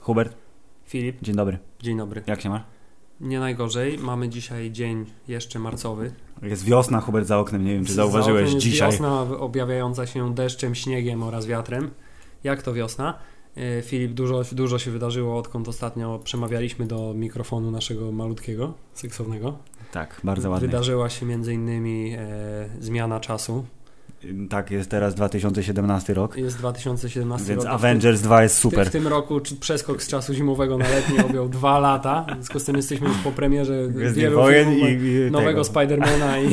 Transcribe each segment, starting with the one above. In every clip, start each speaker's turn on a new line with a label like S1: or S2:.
S1: Hubert,
S2: Filip,
S1: dzień dobry.
S2: dzień dobry.
S1: Jak się masz?
S2: Nie najgorzej, mamy dzisiaj dzień jeszcze marcowy.
S1: Jest wiosna, Hubert, za oknem. Nie wiem, czy
S2: Za
S1: zauważyłeś
S2: oknem jest
S1: dzisiaj.
S2: Wiosna objawiająca się deszczem, śniegiem oraz wiatrem. Jak to wiosna? E, Filip, dużo, dużo się wydarzyło, odkąd ostatnio przemawialiśmy do mikrofonu naszego malutkiego, seksownego.
S1: Tak, bardzo ładnie.
S2: Wydarzyła się między innymi e, zmiana czasu.
S1: Tak, jest teraz 2017 rok,
S2: Jest 2017
S1: więc
S2: rok.
S1: Avengers 2 jest
S2: W tym,
S1: super.
S2: w tym roku czy- przeskok z czasu zimowego na letni objął dwa lata. W związku z tym jesteśmy już po premierze
S1: Gwiezdnych
S2: wielu
S1: Wojen
S2: filmów,
S1: i, i
S2: nowego
S1: tego. Tak.
S2: Spidermana i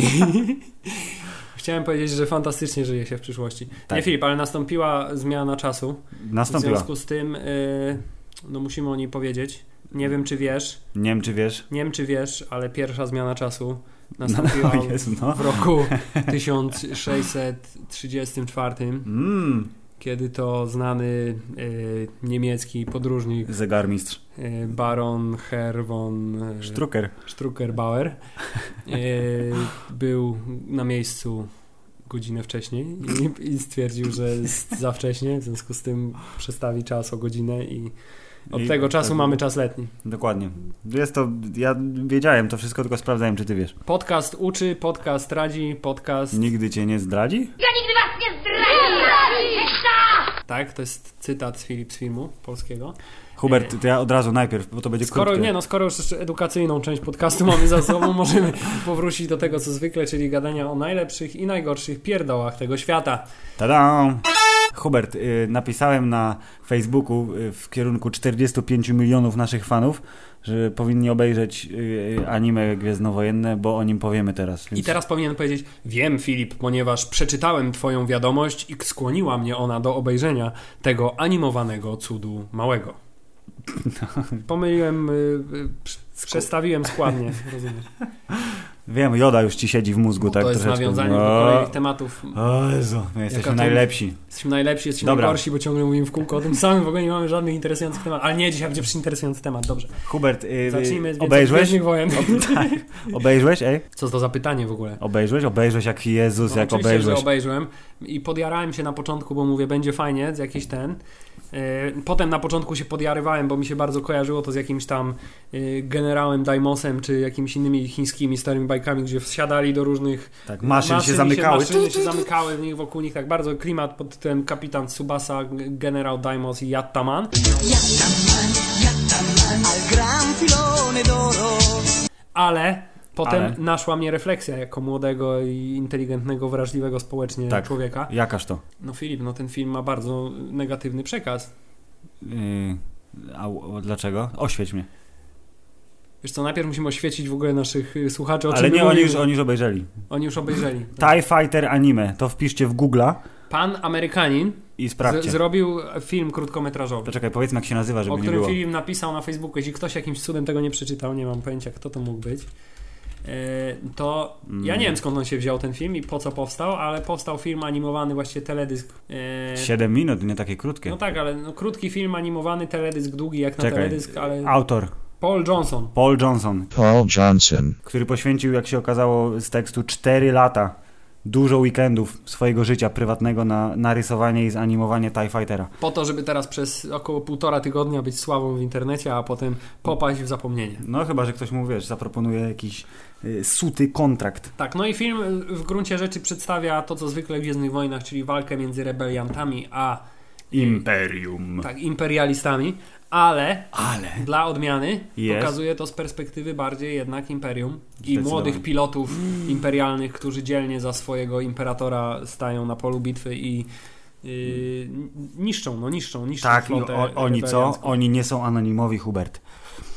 S2: chciałem powiedzieć, że fantastycznie żyje się w przyszłości. Nie
S1: Tak.
S2: Filip, ale nastąpiła zmiana czasu. W
S1: Nastąpiła.
S2: związku z tym y, no musimy o niej powiedzieć. Nie wiem czy wiesz,
S1: Nie wiem, czy wiesz.
S2: nie wiem czy wiesz, ale pierwsza zmiana czasu nastąpiła
S1: No, Jezu, no.
S2: w roku 1634,
S1: Mm,
S2: kiedy to znany y, niemiecki podróżnik
S1: zegarmistrz.
S2: y, baron Herr von y,
S1: Strucker.
S2: Struckerbauer e, był na miejscu godzinę wcześniej i, i stwierdził, że jest za wcześnie, w związku z tym przestawi czas o godzinę i od
S1: I-
S2: tego czasu
S1: tak.
S2: mamy czas letni.
S1: Dokładnie. Jest to, ja wiedziałem to wszystko, tylko sprawdzałem, czy ty wiesz.
S2: Podcast uczy, podcast radzi, podcast...
S1: Nigdy cię nie zdradzi?
S3: Ja nigdy was nie zdradzę!
S2: Tak, to jest cytat z Filip z filmu polskiego.
S1: Hubert, to ja od razu najpierw, bo to będzie
S2: Skoro,
S1: krótkie.
S2: nie no, skoro już jeszcze edukacyjną część podcastu mamy za sobą, możemy powrócić do tego, co zwykle, czyli gadania o najlepszych i najgorszych pierdołach tego świata.
S1: Tada! Hubert, y, napisałem na Facebooku y, w kierunku 45 milionów naszych fanów, że powinni obejrzeć y, y, anime Gwiezdnowojenne, bo o nim powiemy teraz. Więc
S2: I teraz powinien powiedzieć: Wiem, Filip, ponieważ przeczytałem Twoją wiadomość i skłoniła mnie ona do obejrzenia tego animowanego cudu małego. Pomyliłem, y, y, prz- przestawiłem składnie. Rozumiesz?
S1: Wiem, Joda już ci siedzi w mózgu, tak?
S2: No to jest
S1: troszeczkę.
S2: nawiązanie do
S1: O,
S2: kolejnych tematów.
S1: O Jezu, my jesteśmy
S2: to-
S1: najlepsi.
S2: Jesteśmy najlepsi, jesteśmy
S1: Dobra.
S2: najgorsi, bo ciągle mówimy w kółko o tym samym. W ogóle nie mamy żadnych interesujących tematów. Ale nie, dzisiaj będzie przecież interesujący temat. Dobrze.
S1: Hubert, y, y,
S2: Zacznijmy z
S1: obejrzałeś?
S2: Gwiezdnych Wojen.
S1: tak. Obejrzałeś? Ej,
S2: Co to za pytanie w ogóle?
S1: obejrzałeś? Obejrzałeś jak Jezus,
S2: No,
S1: jak
S2: oczywiście,
S1: obejrzałeś.
S2: że obejrzyłem i podjarałem się na początku, bo mówię, będzie fajnie, z jakiś ten. Yy, Potem na początku się podjarywałem, bo mi się bardzo kojarzyło to z jakimś tam yy, generałem Daimosem, czy jakimiś innymi chińskimi starymi bajkami, gdzie wsiadali do różnych
S1: Tak, maszyn się zamykały.
S2: Się, maszyny się zamykały w nich, wokół nich tak bardzo klimat pod tytułem Kapitan Tsubasa, g- generał Daimos i Yattaman.
S4: al gran filone d'oro
S2: Ale potem
S1: Ale.
S2: naszła mnie refleksja jako młodego i inteligentnego, wrażliwego społecznie
S1: Tak.
S2: człowieka.
S1: Jakaż to?
S2: No Filip, no ten film ma bardzo negatywny przekaz.
S1: Y, a, a dlaczego? Oświeć mnie.
S2: Wiesz co, najpierw musimy oświecić w ogóle naszych y, słuchaczy, o czym
S1: Ale
S2: my
S1: nie, oni
S2: mówimy.
S1: już, oni już obejrzeli.
S2: Oni już obejrzeli.
S1: TIE Fighter anime, to wpiszcie w Google'a
S2: Pan Amerykanin
S1: i
S2: z-
S1: sprawdźcie.
S2: zrobił e, film krótkometrażowy,
S1: Poczekaj, powiedzmy jak się nazywa,
S2: o
S1: żeby nie
S2: którym
S1: było.
S2: film napisał na Facebooku. Jeśli ktoś jakimś cudem tego nie przeczytał, nie mam pojęcia, kto to mógł być, e, to ja
S1: Mm.
S2: nie wiem skąd on się wziął ten film i po co powstał, ale powstał film animowany, właściwie teledysk. e,
S1: 7 minut, nie takie krótkie.
S2: No tak, ale no, krótki film animowany, teledysk długi jak na
S1: Czekaj.
S2: teledysk, ale
S1: Autor
S2: Paul Johnson.
S1: Paul Johnson,
S5: Paul Johnson.
S1: który poświęcił, jak się okazało z tekstu, 4 lata, dużo weekendów swojego życia prywatnego na narysowanie i zanimowanie TIE Fightera.
S2: Po to, żeby teraz przez około półtora tygodnia być sławą w internecie, a potem popaść w zapomnienie.
S1: No chyba, że ktoś mu, wiesz, zaproponuje jakiś y, suty kontrakt.
S2: Tak, no i film w gruncie rzeczy przedstawia to, co zwykle w Gwiezdnych Wojnach, czyli walkę między rebeliantami a
S1: Imperium.
S2: tak, imperialistami, ale
S1: Ale...
S2: dla odmiany
S1: Jest.
S2: pokazuje to z perspektywy bardziej jednak imperium i
S1: Zdecydowanie.
S2: młodych pilotów imperialnych, którzy dzielnie za swojego imperatora stają na polu bitwy i yy, niszczą, no niszczą, niszczą
S1: Tak, i
S2: flotę
S1: o, oni co?
S2: rebeliancką.
S1: Oni nie są anonimowi, Hubert.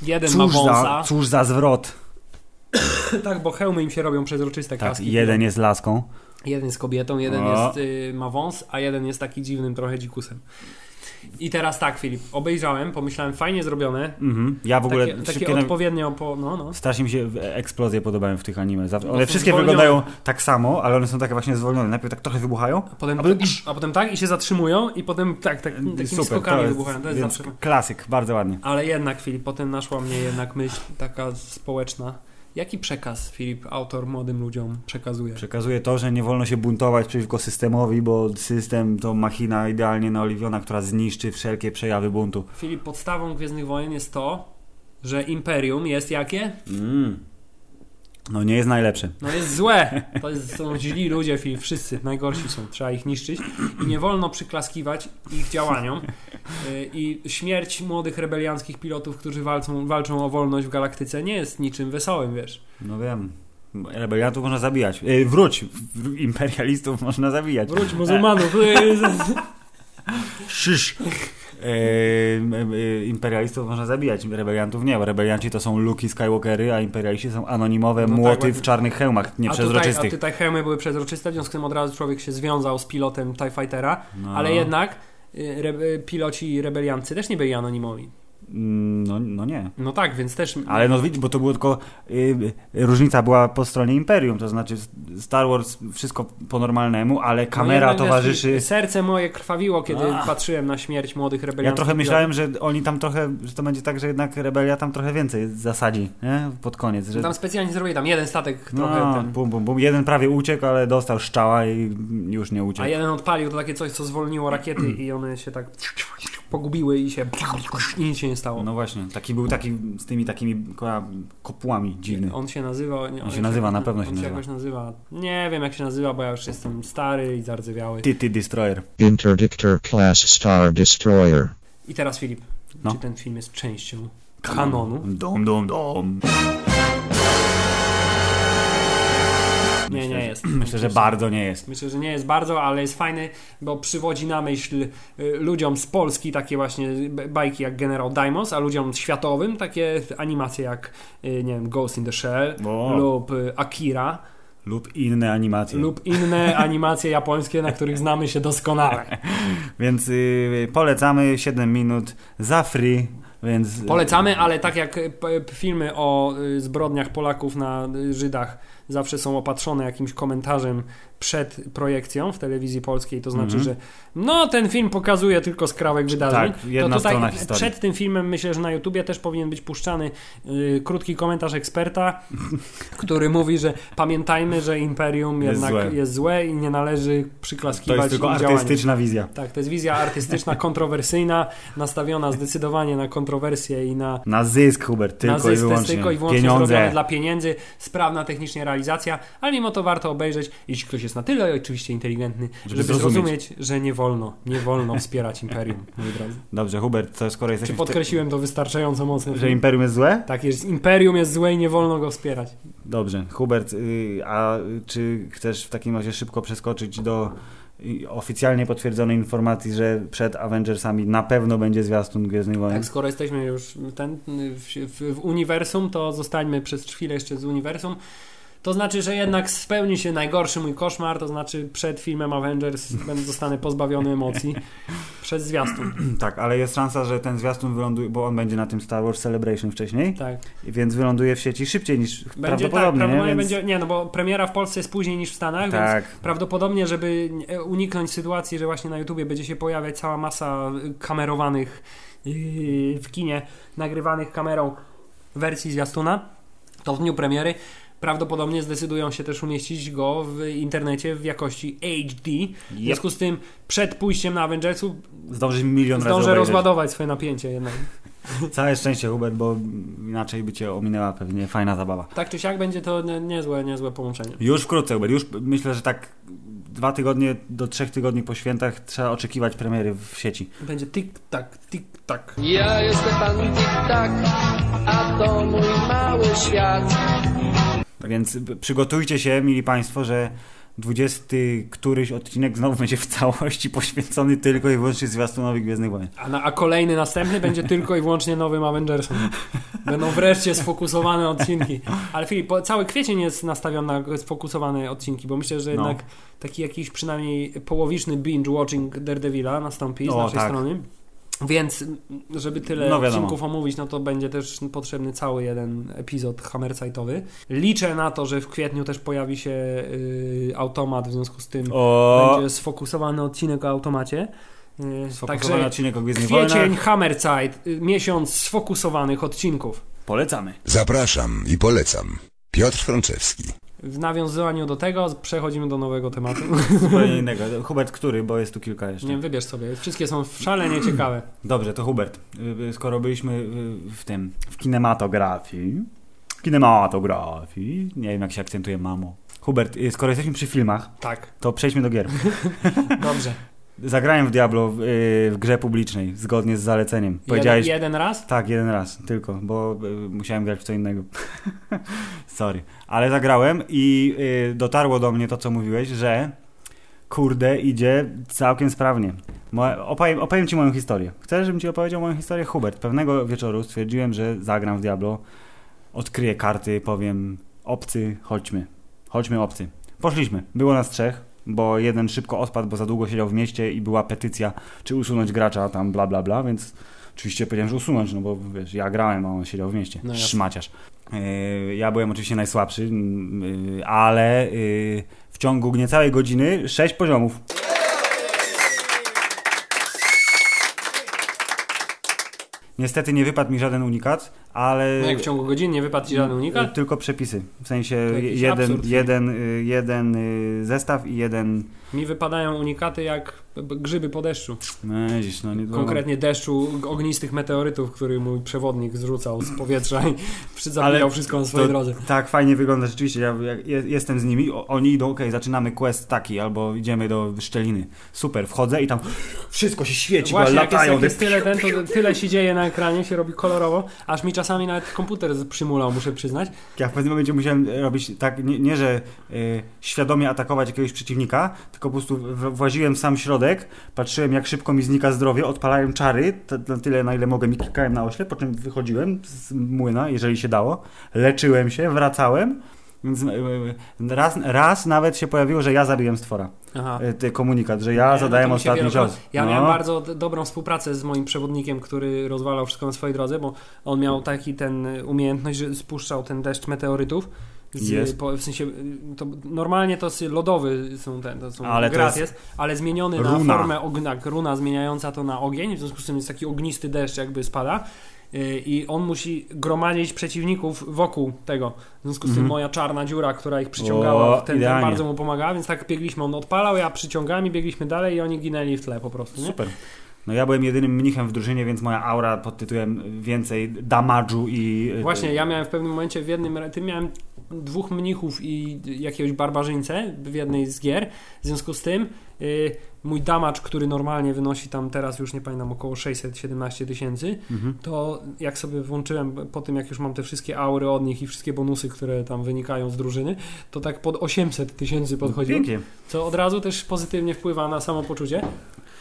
S2: Jeden
S1: Cóż
S2: ma
S1: za,
S2: wąsa,
S1: cóż za zwrot.
S2: tak, bo hełmy im się robią przezroczyste
S1: Tak,
S2: kaski.
S1: jeden jest laską.
S2: Jeden jest kobietą, jeden
S1: O.
S2: jest, y, ma wąs, a jeden jest taki dziwnym trochę dzikusem. I teraz tak, Filip, obejrzałem, pomyślałem, fajnie zrobione.
S1: Mhm. Ja w ogóle
S2: takie takie
S1: szybkie nawi-
S2: odpowiednio po. No, no.
S1: Strasznie mi się w- eksplozje podobają w tych anime. Zaw-
S2: są
S1: One wszystkie
S2: zwolnione.
S1: wyglądają tak samo, ale one są takie właśnie zwolnione. Najpierw tak trochę wybuchają,
S2: A potem,
S1: a potem-
S2: a potem tak i się zatrzymują, i potem tak, tak takimi skokami
S1: to jest-
S2: wybuchają. To jest
S1: więc
S2: zawsze.
S1: klasyk, bardzo ładnie.
S2: Ale jednak, Filip, potem naszła mnie jednak myśl taka społeczna, Jaki przekaz, Filip, autor młodym ludziom przekazuje?
S1: Przekazuje to, że nie wolno się buntować przeciwko systemowi, bo system to machina idealnie naoliwiona, która zniszczy wszelkie przejawy buntu.
S2: Filip, podstawą Gwiezdnych Wojen jest to, że Imperium jest jakie?
S1: Mm. No nie jest najlepsze.
S2: No jest złe. To jest, są źli ludzie, Filip, wszyscy najgorsi są, trzeba ich niszczyć. I nie wolno przyklaskiwać ich działaniom. Y, I śmierć młodych rebelianckich pilotów, którzy walczą, walczą o wolność w galaktyce, nie jest niczym wesołym, wiesz.
S1: No wiem. Rebeliantów można zabijać. E, wróć! W- Imperialistów można zabijać.
S2: Wróć muzułmanów.
S1: Szysz! E, m- e, imperialistów można zabijać, rebeliantów nie, bo rebelianci to są Luki Skywalkery, a imperialiści są anonimowe
S2: No
S1: młoty
S2: tak,
S1: w
S2: właśnie.
S1: czarnych hełmach,
S2: A tutaj, a
S1: nieprzezroczystych.
S2: tutaj hełmy były przezroczyste, w związku z tym od razu człowiek się związał z pilotem TIE Fightera,
S1: No.
S2: ale jednak y, rebe- piloci rebeliancy też nie byli anonimowi.
S1: Mm, No, no nie.
S2: No tak, więc też...
S1: Ale no widzisz, bo to było tylko y, y, różnica była po stronie Imperium, to znaczy Star Wars wszystko po normalnemu, ale
S2: No
S1: kamera
S2: jednak, wiesz,
S1: towarzyszy.
S2: Serce moje krwawiło, kiedy
S1: Ach.
S2: patrzyłem na śmierć młodych rebeliantów.
S1: Ja trochę myślałem, że oni tam trochę, że to będzie tak, że jednak rebelia tam trochę więcej zasadzi, nie? Pod koniec, że
S2: Tam specjalnie zrobili tam jeden statek trochę
S1: no,
S2: ten.
S1: bum, bum, bum. Jeden prawie uciekł, ale dostał szczała i już nie
S2: A
S1: uciekł.
S2: jeden odpalił to takie coś, co zwolniło rakiety i one się tak pogubiły i się i nic się nie stało.
S1: No właśnie, taki był taki z tymi takimi ko- kopłami dziwny.
S2: On się nazywa... nie,
S1: On się nazywa, na pewno się
S2: on się
S1: nazywa.
S2: jakoś nazywa. Nie wiem jak się nazywa, bo ja już jestem stary i zardzewiały.
S1: Ty, ty, destroyer.
S5: Interdictor class Star Destroyer.
S2: I teraz Filip,
S1: No.
S2: czy ten film jest częścią kanonu?
S1: Dom, dom, dom.
S2: Nie, nie
S1: że-
S2: jest.
S1: Myślę, że bardzo nie jest.
S2: Myślę, że nie jest bardzo, ale jest fajny, bo przywodzi na myśl y, ludziom z Polski takie właśnie b- bajki jak Generał Daimos, a ludziom światowym takie animacje jak, y, nie wiem, Ghost in the Shell
S1: O.
S2: lub y, Akira
S1: Lub inne animacje.
S2: lub inne animacje japońskie, na których znamy się doskonale.
S1: Więc y, polecamy 7 minut za free, więc...
S2: Polecamy, ale tak jak y, p- p- filmy o y, zbrodniach Polaków na y, Żydach zawsze są opatrzone jakimś komentarzem przed projekcją w telewizji polskiej, to znaczy,
S1: Mhm.
S2: że no ten film pokazuje tylko skrawek wydarzeń.
S1: Tak, jedna
S2: to tutaj
S1: strona historii.
S2: przed tym filmem myślę, że na YouTubie też powinien być puszczany y, krótki komentarz eksperta, który mówi, że pamiętajmy, że imperium
S1: Jest
S2: jednak
S1: złe.
S2: jest złe i nie należy
S1: To
S2: przyklaskiwać
S1: jest tylko
S2: im działaniom.
S1: artystyczna wizja.
S2: Tak, to jest wizja artystyczna, kontrowersyjna, nastawiona zdecydowanie na kontrowersje i na,
S1: Na zysk, Hubert, tylko,
S2: na
S1: i,
S2: zysk, to jest
S1: wyłącznie.
S2: tylko i wyłącznie
S1: Pieniądze.
S2: zrobione dla pieniędzy, sprawna technicznie realizacja, ale mimo to warto obejrzeć, jeśli ktoś jest na tyle oczywiście inteligentny, żeby,
S1: zrozumieć.
S2: zrozumieć. że nie wolno, nie wolno wspierać Imperium, moi drodzy.
S1: Dobrze, Hubert, to skoro
S2: Czy
S1: jesteśmy... w te-
S2: podkreśliłem to wystarczająco mocno?
S1: Że Imperium jest złe?
S2: Tak, jest, Imperium jest złe i nie wolno go wspierać.
S1: Dobrze. Hubert, y, a czy chcesz w takim razie szybko przeskoczyć do y, oficjalnie potwierdzonej informacji, że przed Avengersami na pewno będzie zwiastun Gwiezdnych Wojen?
S2: Tak, skoro jesteśmy już ten, w, w, w uniwersum, to zostańmy przez chwilę jeszcze z uniwersum. To znaczy, że jednak spełni się najgorszy mój koszmar, to znaczy przed filmem Avengers będę zostanę pozbawiony emocji przez zwiastun.
S1: Tak, ale jest szansa, że ten zwiastun wyląduje, bo on będzie na tym Star Wars Celebration wcześniej,
S2: Tak.
S1: więc wyląduje w sieci szybciej niż
S2: Będzie tak,
S1: prawdopodobnie,
S2: prawdopodobnie
S1: nie? Więc...
S2: będzie, nie, no bo premiera w Polsce jest później niż w Stanach, więc
S1: Tak.
S2: prawdopodobnie, żeby e, uniknąć sytuacji, że właśnie na YouTubie będzie się pojawiać cała masa y, kamerowanych yy, w kinie, nagrywanych kamerą wersji zwiastuna, to w dniu premiery prawdopodobnie zdecydują się też umieścić go w internecie w jakości HD. W
S1: Yep.
S2: związku z tym przed pójściem na Avengersu
S1: Zdążysz milion razy
S2: zdążę
S1: obejrzeć.
S2: rozładować swoje napięcie jednak.
S1: Całe szczęście, Hubert, bo inaczej by cię ominęła pewnie fajna zabawa.
S2: Tak czy siak będzie to nie- niezłe, niezłe połączenie.
S1: Już wkrótce, Hubert, już myślę, że tak dwa tygodnie do trzech tygodni po świętach trzeba oczekiwać premiery w sieci.
S2: Będzie tik-tak, tik-tak.
S6: Ja jestem pan Tik-Tak, a to mój mały świat.
S1: Więc p- przygotujcie się, mili Państwo, że 20 któryś odcinek znowu będzie w całości poświęcony tylko i wyłącznie zwiastunowi Gwiezdnych Wojen.
S2: A, na, a kolejny, następny będzie tylko i wyłącznie nowym Avengersom. Będą wreszcie sfokusowane odcinki. Ale Filip, po- cały kwiecień jest nastawiony na sfokusowane odcinki, bo myślę, że
S1: No.
S2: jednak taki jakiś przynajmniej połowiczny binge-watching Daredevila nastąpi z
S1: O,
S2: naszej
S1: tak.
S2: strony. Więc m, żeby tyle
S1: No wiadomo.
S2: odcinków omówić, no to będzie też potrzebny cały jeden epizod Hammersightowy. Liczę na to, że w kwietniu też pojawi się y, automat, w związku z tym
S1: O,
S2: będzie sfokusowany odcinek o automacie. Y,
S1: sfokusowany
S2: Także
S1: odcinek o Gwiezdnych
S2: Kwiecień,
S1: Wojnach.
S2: Hammerzeit, y, miesiąc sfokusowanych odcinków.
S1: Polecamy.
S7: Zapraszam i polecam. Piotr Franczewski.
S2: W nawiązaniu do tego przechodzimy do nowego tematu.
S1: Zupełnie innego. Hubert, który? Bo jest tu kilka jeszcze.
S2: Nie, wybierz sobie. Wszystkie są szalenie ciekawe.
S1: Dobrze, to Hubert. y, y, Skoro byliśmy y, w tym, w kinematografii. Kinematografii. Nie wiem, jak się akcentuje, mamo. Hubert, y, skoro jesteśmy przy filmach,
S2: Tak,
S1: to przejdźmy do gier.
S2: dobrze.
S1: Zagrałem w Diablo w, y, w grze publicznej, zgodnie z zaleceniem. Powiedziałeś.
S2: Jeden, jeden raz?
S1: Tak, jeden raz tylko, bo y, musiałem grać w co innego. Sorry. Ale zagrałem i y, dotarło do mnie to, co mówiłeś, że kurde, idzie całkiem sprawnie. Moja, opowiem, opowiem ci moją historię. Chcesz, żebym ci opowiedział moją historię? Hubert, pewnego wieczoru stwierdziłem, że zagram w Diablo, odkryję karty, powiem obcy, chodźmy. Chodźmy obcy. Poszliśmy. Było nas trzech, bo jeden szybko odpadł, bo za długo siedział w mieście i była petycja, czy usunąć gracza, tam bla bla bla, więc Oczywiście powiedziałem, że usunąć, no bo wiesz, ja grałem, a on siedział w mieście.
S2: No jasne.
S1: Szmaciarz. Yy, ja byłem oczywiście najsłabszy, mm, yy, ale yy, w ciągu niecałej godziny sześć poziomów. Niestety nie wypadł mi żaden unikat, ale
S2: No jak w ciągu godziny nie wypadł ci żaden
S1: y,
S2: unikat?
S1: tylko przepisy. W sensie
S2: jakiś
S1: jeden,
S2: absurd.
S1: jeden, y, jeden y, zestaw i jeden...
S2: Mi wypadają unikaty jak b- grzyby po deszczu.
S1: No, widzisz, no nie
S2: Konkretnie deszczu g- ognistych meteorytów, który mój przewodnik zrzucał z powietrza i przy-
S1: Ale
S2: zabijał wszystko na swojej
S1: to-
S2: drodze.
S1: Tak, fajnie wygląda rzeczywiście. Ja, jak je- jestem z nimi, o, oni idą, okej, zaczynamy quest taki, albo idziemy do szczeliny. Super, wchodzę i tam wszystko się świeci,
S2: Właśnie,
S1: bo
S2: jak jest,
S1: latają.
S2: jak jest
S1: te-
S2: tyle, ten, to tyle się dzieje na ekranie, się robi kolorowo, aż mi czasami nawet komputer z- przymulał, muszę przyznać.
S1: Ja w pewnym momencie musiałem robić tak, nie, nie że y, świadomie atakować jakiegoś przeciwnika, tylko po prostu w, właziłem w sam środek, patrzyłem jak szybko mi znika zdrowie, odpalałem czary, t- na tyle na ile mogłem i klikałem na oślep, po czym wychodziłem z młyna, jeżeli się dało, leczyłem się, wracałem. Więc y, y, raz, raz nawet się pojawiło, że ja zabiłem stwora.
S2: Aha.
S1: e, ty komunikat, że ja
S2: Nie, no
S1: zadałem
S2: to mi się
S1: ostatni
S2: wielokrotnie-
S1: cios. No.
S2: Ja miałem bardzo d- dobrą współpracę z moim przewodnikiem, który rozwalał wszystko na swojej drodze, bo on miał taki ten y, umiejętność, że spuszczał ten deszcz meteorytów. Z,
S1: Jest.
S2: po, w sensie, y, to, normalnie to sy- lodowy są ten, to są
S1: Ale to
S2: grat
S1: jest-
S2: jest, ale zmieniony na
S1: Runa.
S2: formę ognia, tak, runa zmieniająca to na ogień, w związku z tym jest taki ognisty deszcz jakby spada y, i on musi gromadzić przeciwników wokół tego. W związku z tym moja czarna dziura, która ich przyciągała,
S1: Mhm. O,
S2: w ten, ten
S1: idealnie.
S2: bardzo mu pomagała, więc tak biegliśmy, on odpalał, ja przyciągałem i biegliśmy dalej i oni ginęli w tle po prostu. Nie?
S1: Super. No ja byłem jedynym mnichem w drużynie, więc moja aura pod tytułem więcej damage'u i... e,
S2: Właśnie, ja miałem w pewnym momencie w jednym, re- tym miałem dwóch mnichów i jakiegoś barbarzyńcę w jednej z gier, w związku z tym y, mój damacz, który normalnie wynosi tam teraz już nie pamiętam około 617 tysięcy,
S1: Mhm.
S2: to jak sobie włączyłem po tym, jak już mam te wszystkie aury od nich i wszystkie bonusy, które tam wynikają z drużyny, to tak pod 800 tysięcy podchodził.
S1: Pięknie.
S2: Co od razu też pozytywnie wpływa na samopoczucie.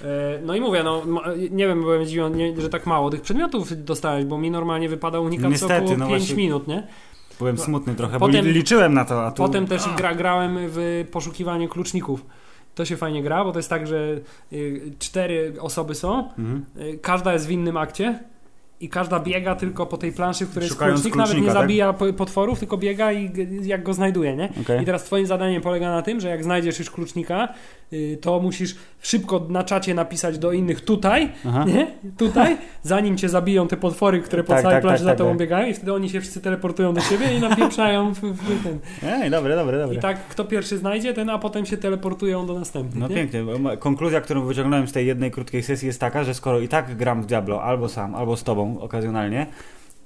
S2: E, No i mówię, no ma- nie wiem, byłem zdziwiony, nie- że tak mało tych przedmiotów dostałeś, bo mi normalnie wypada unikat
S1: Niestety,
S2: co około
S1: no
S2: 5
S1: właśnie.
S2: minut, nie?
S1: Byłem smutny trochę,
S2: No, Potem-
S1: bo li- liczyłem na to, a tu...
S2: Potem też gra, grałem w poszukiwanie kluczników. To się fajnie gra, bo to jest tak, że y, cztery osoby są,
S1: Mhm.
S2: y, każda jest w innym akcie i każda biega tylko po tej planszy, w której jest
S1: Szukając
S2: klucznik, nawet nie
S1: klucznika, tak?
S2: zabija po- potworów, tylko biega i g- jak go znajduje, nie?
S1: Okej.
S2: I teraz twoim zadaniem polega na tym, że jak znajdziesz już klucznika, y, to musisz szybko na czacie napisać do innych tutaj,
S1: Aha.
S2: nie? Tutaj, zanim cię zabiją te potwory, które po
S1: Tak,
S2: całej
S1: tak,
S2: planszy
S1: tak,
S2: za
S1: tak,
S2: tobą
S1: tak.
S2: biegają i wtedy oni się wszyscy teleportują do siebie i napieprzają w, w ten.
S1: Ej, dobre, dobre,
S2: I
S1: dobre.
S2: tak kto pierwszy znajdzie, ten, a potem się teleportują do następnych.
S1: No
S2: nie?
S1: pięknie. bo ma- Konkluzja, którą wyciągnąłem z tej jednej krótkiej sesji jest taka, że skoro i tak gram w Diablo albo sam, albo z tobą okazjonalnie,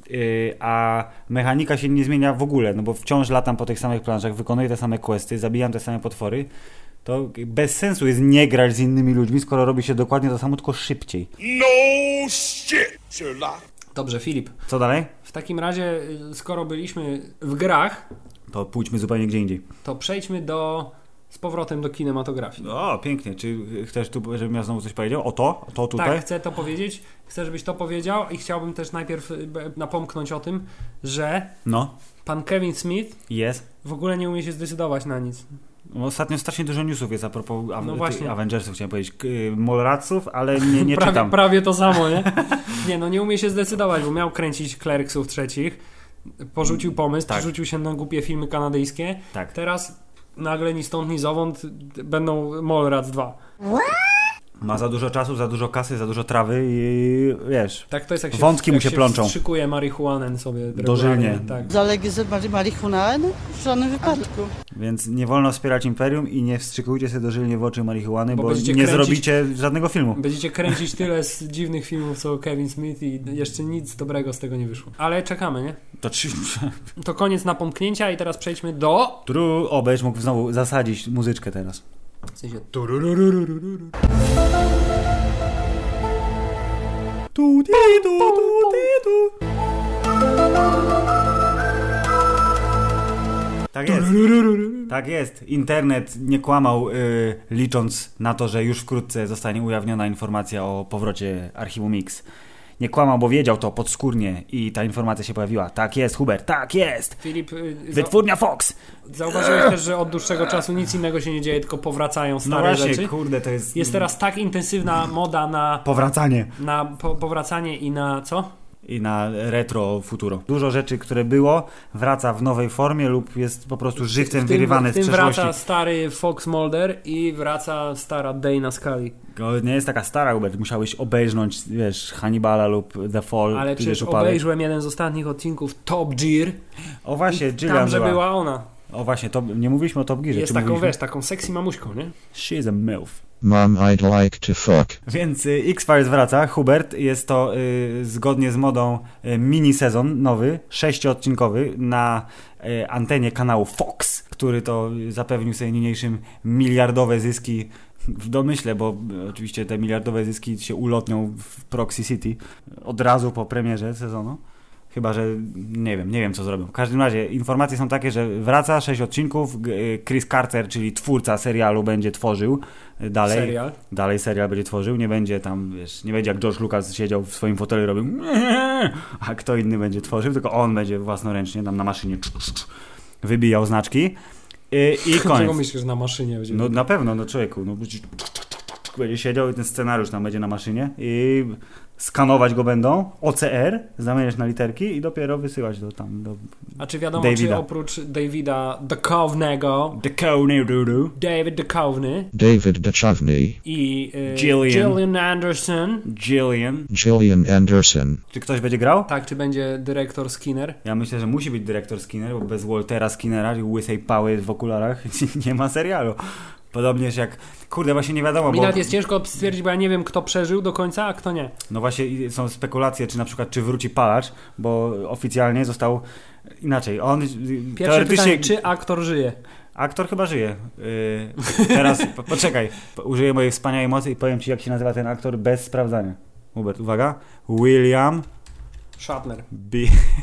S1: yy, a mechanika się nie zmienia w ogóle, no bo wciąż latam po tych samych planszach, wykonuję te same questy, zabijam te same potwory, to bez sensu jest nie grać z innymi ludźmi, skoro robi się dokładnie to samo, tylko szybciej.
S7: No shit, Sherlock.
S2: Dobrze, Filip.
S1: Co dalej?
S2: W takim razie, y, skoro byliśmy w grach,
S1: To pójdźmy zupełnie gdzie indziej.
S2: to przejdźmy do z powrotem do kinematografii.
S1: O, pięknie. Czy chcesz tu, żebym ja znowu coś powiedział? O to? O to tutaj?
S2: Tak, chcę to powiedzieć, chcę, żebyś to powiedział i chciałbym też najpierw y, b- napomknąć o tym, że
S1: No,
S2: pan Kevin Smith
S1: jest.
S2: w ogóle nie umie się zdecydować na nic.
S1: Ostatnio strasznie dużo newsów jest a propos
S2: No
S1: no
S2: właśnie.
S1: Avengersów, chciałem powiedzieć, k- y, Molraców, ale nie, nie
S2: prawie,
S1: czytam.
S2: prawie to samo, nie? Nie, no nie umie się zdecydować, bo miał kręcić Clerksów trzecich, porzucił pomysł,
S1: Tak.
S2: rzucił się na głupie filmy kanadyjskie.
S1: Tak.
S2: Teraz nagle ni stąd, ni zowąd będą Mallrats 2.
S1: Ma za dużo czasu, za dużo kasy, za dużo trawy i wiesz.
S2: Tak to jest jak się,
S1: Wątki mu
S2: jak
S1: się plączą.
S2: Szykuje marihuanę sobie
S1: Dożylnie.
S2: regularnie, Tak.
S8: Zalegalizować marihuanę? W żadnym wypadku.
S1: Więc nie wolno wspierać imperium i nie wstrzykujcie sobie dożylnie w oczy marihuany,
S2: Bo
S1: bo,
S2: będziecie
S1: nie
S2: kręcić-
S1: zrobicie żadnego filmu.
S2: Będziecie kręcić tyle z dziwnych filmów co Kevin Smith i jeszcze nic dobrego z tego nie wyszło. Ale czekamy, nie?
S1: To czy...
S2: To koniec napomknięcia i teraz przejdźmy do...
S1: Tru, o, będziesz mógł znowu zasadzić muzyczkę teraz.
S2: W sensie...
S1: Tu, ti, tu, tu, ti, tu. Tak jest. Tak jest. Internet nie kłamał, y, licząc na to, że już wkrótce zostanie ujawniona informacja o powrocie archiwum Mix. Nie kłamał, bo wiedział to podskórnie i ta informacja się pojawiła. Tak jest, Hubert, tak jest!
S2: Filip, y, za-
S1: Wytwórnia Fox!
S2: zauważyłeś też, że od dłuższego czasu nic innego się nie dzieje, tylko powracają
S1: No
S2: stare
S1: właśnie,
S2: rzeczy.
S1: kurde, to jest...
S2: Jest teraz tak intensywna moda na,
S1: Powracanie.
S2: na po, powracanie i na co?
S1: i na retro futuro. Dużo rzeczy, które było, wraca w nowej formie lub jest po prostu żywcem
S2: W tym-
S1: wyrywane
S2: w tym
S1: z przeszłości.
S2: wraca stary Fox Mulder i wraca stara Dana Scully.
S1: To nie jest taka stara, Hubert. Musiałeś obejrzeć, wiesz, Hannibala lub The Fall.
S2: Ale
S1: tudzież
S2: przecież
S1: Upadek.
S2: obejrzałem jeden z ostatnich odcinków Top Gear.
S1: O właśnie, Jillian
S2: Tam, że
S1: była.
S2: była ona.
S1: O właśnie, to, nie mówiliśmy o Top Gearze.
S2: Jest
S1: czy
S2: taką,
S1: mówiliśmy?
S2: wiesz, taką sexy mamuśką, nie?
S1: She's a MILF.
S5: Mom, I'd like to fuck.
S1: Więc y, X-Files wraca, Hubert, jest to y, zgodnie z modą y, mini sezon nowy, sześciodcinkowy na y, antenie kanału Fox, który to y, zapewnił sobie niniejszym miliardowe zyski w domyśle, bo y, oczywiście te miliardowe zyski się ulotnią w Proxy City od razu po premierze sezonu. Chyba, że nie wiem, nie wiem co zrobią. W każdym razie informacje są takie, że wraca sześć odcinków. g- y, Chris Carter, czyli twórca serialu, będzie tworzył y, dalej
S2: Serial.
S1: dalej serial będzie tworzył, nie będzie tam, wiesz, nie będzie jak George Lucas siedział w swoim fotelu i robił a kto inny będzie tworzył, tylko on będzie własnoręcznie tam na maszynie cz, cz, cz, wybijał znaczki i, i
S2: Czego
S1: koniec.
S2: myślisz, że na maszynie będzie?
S1: No na pewno, no człowieku, no będzie, cz, cz, cz, cz, cz, będzie siedział i ten scenariusz tam będzie na maszynie i skanować go będą, OCR, zamieniać na literki i dopiero wysyłać do tam, do...
S2: A czy wiadomo, czy
S1: Davida.
S2: oprócz Davida Duchownego,
S1: The Coney Doodoo.
S2: David Duchowny
S5: David Duchovny,
S2: i y,
S1: Gillian.
S2: Gillian Anderson,
S1: Jillian.
S5: Gillian Anderson,
S1: Czy ktoś będzie grał?
S2: tak, czy będzie dyrektor Skinner?
S1: Ja myślę, że musi być dyrektor Skinner, bo bez Waltera Skinnera i łysej pały w okularach nie ma serialu. Podobnież jak... Kurde, właśnie nie wiadomo,
S2: Mi
S1: bo...
S2: nawet jest ciężko stwierdzić, bo ja nie wiem, kto przeżył do końca, a kto nie.
S1: No właśnie i są spekulacje, czy na przykład, czy wróci Palacz, bo oficjalnie został... Inaczej, on
S2: Pierwsze
S1: teoretycznie...
S2: pytanie, czy aktor żyje?
S1: Aktor chyba żyje. Yy, teraz, po, poczekaj, po- użyję mojej wspaniałej mocy i powiem ci, jak się nazywa ten aktor bez sprawdzania. Hubert, uwaga. William
S2: Shatner.
S1: B.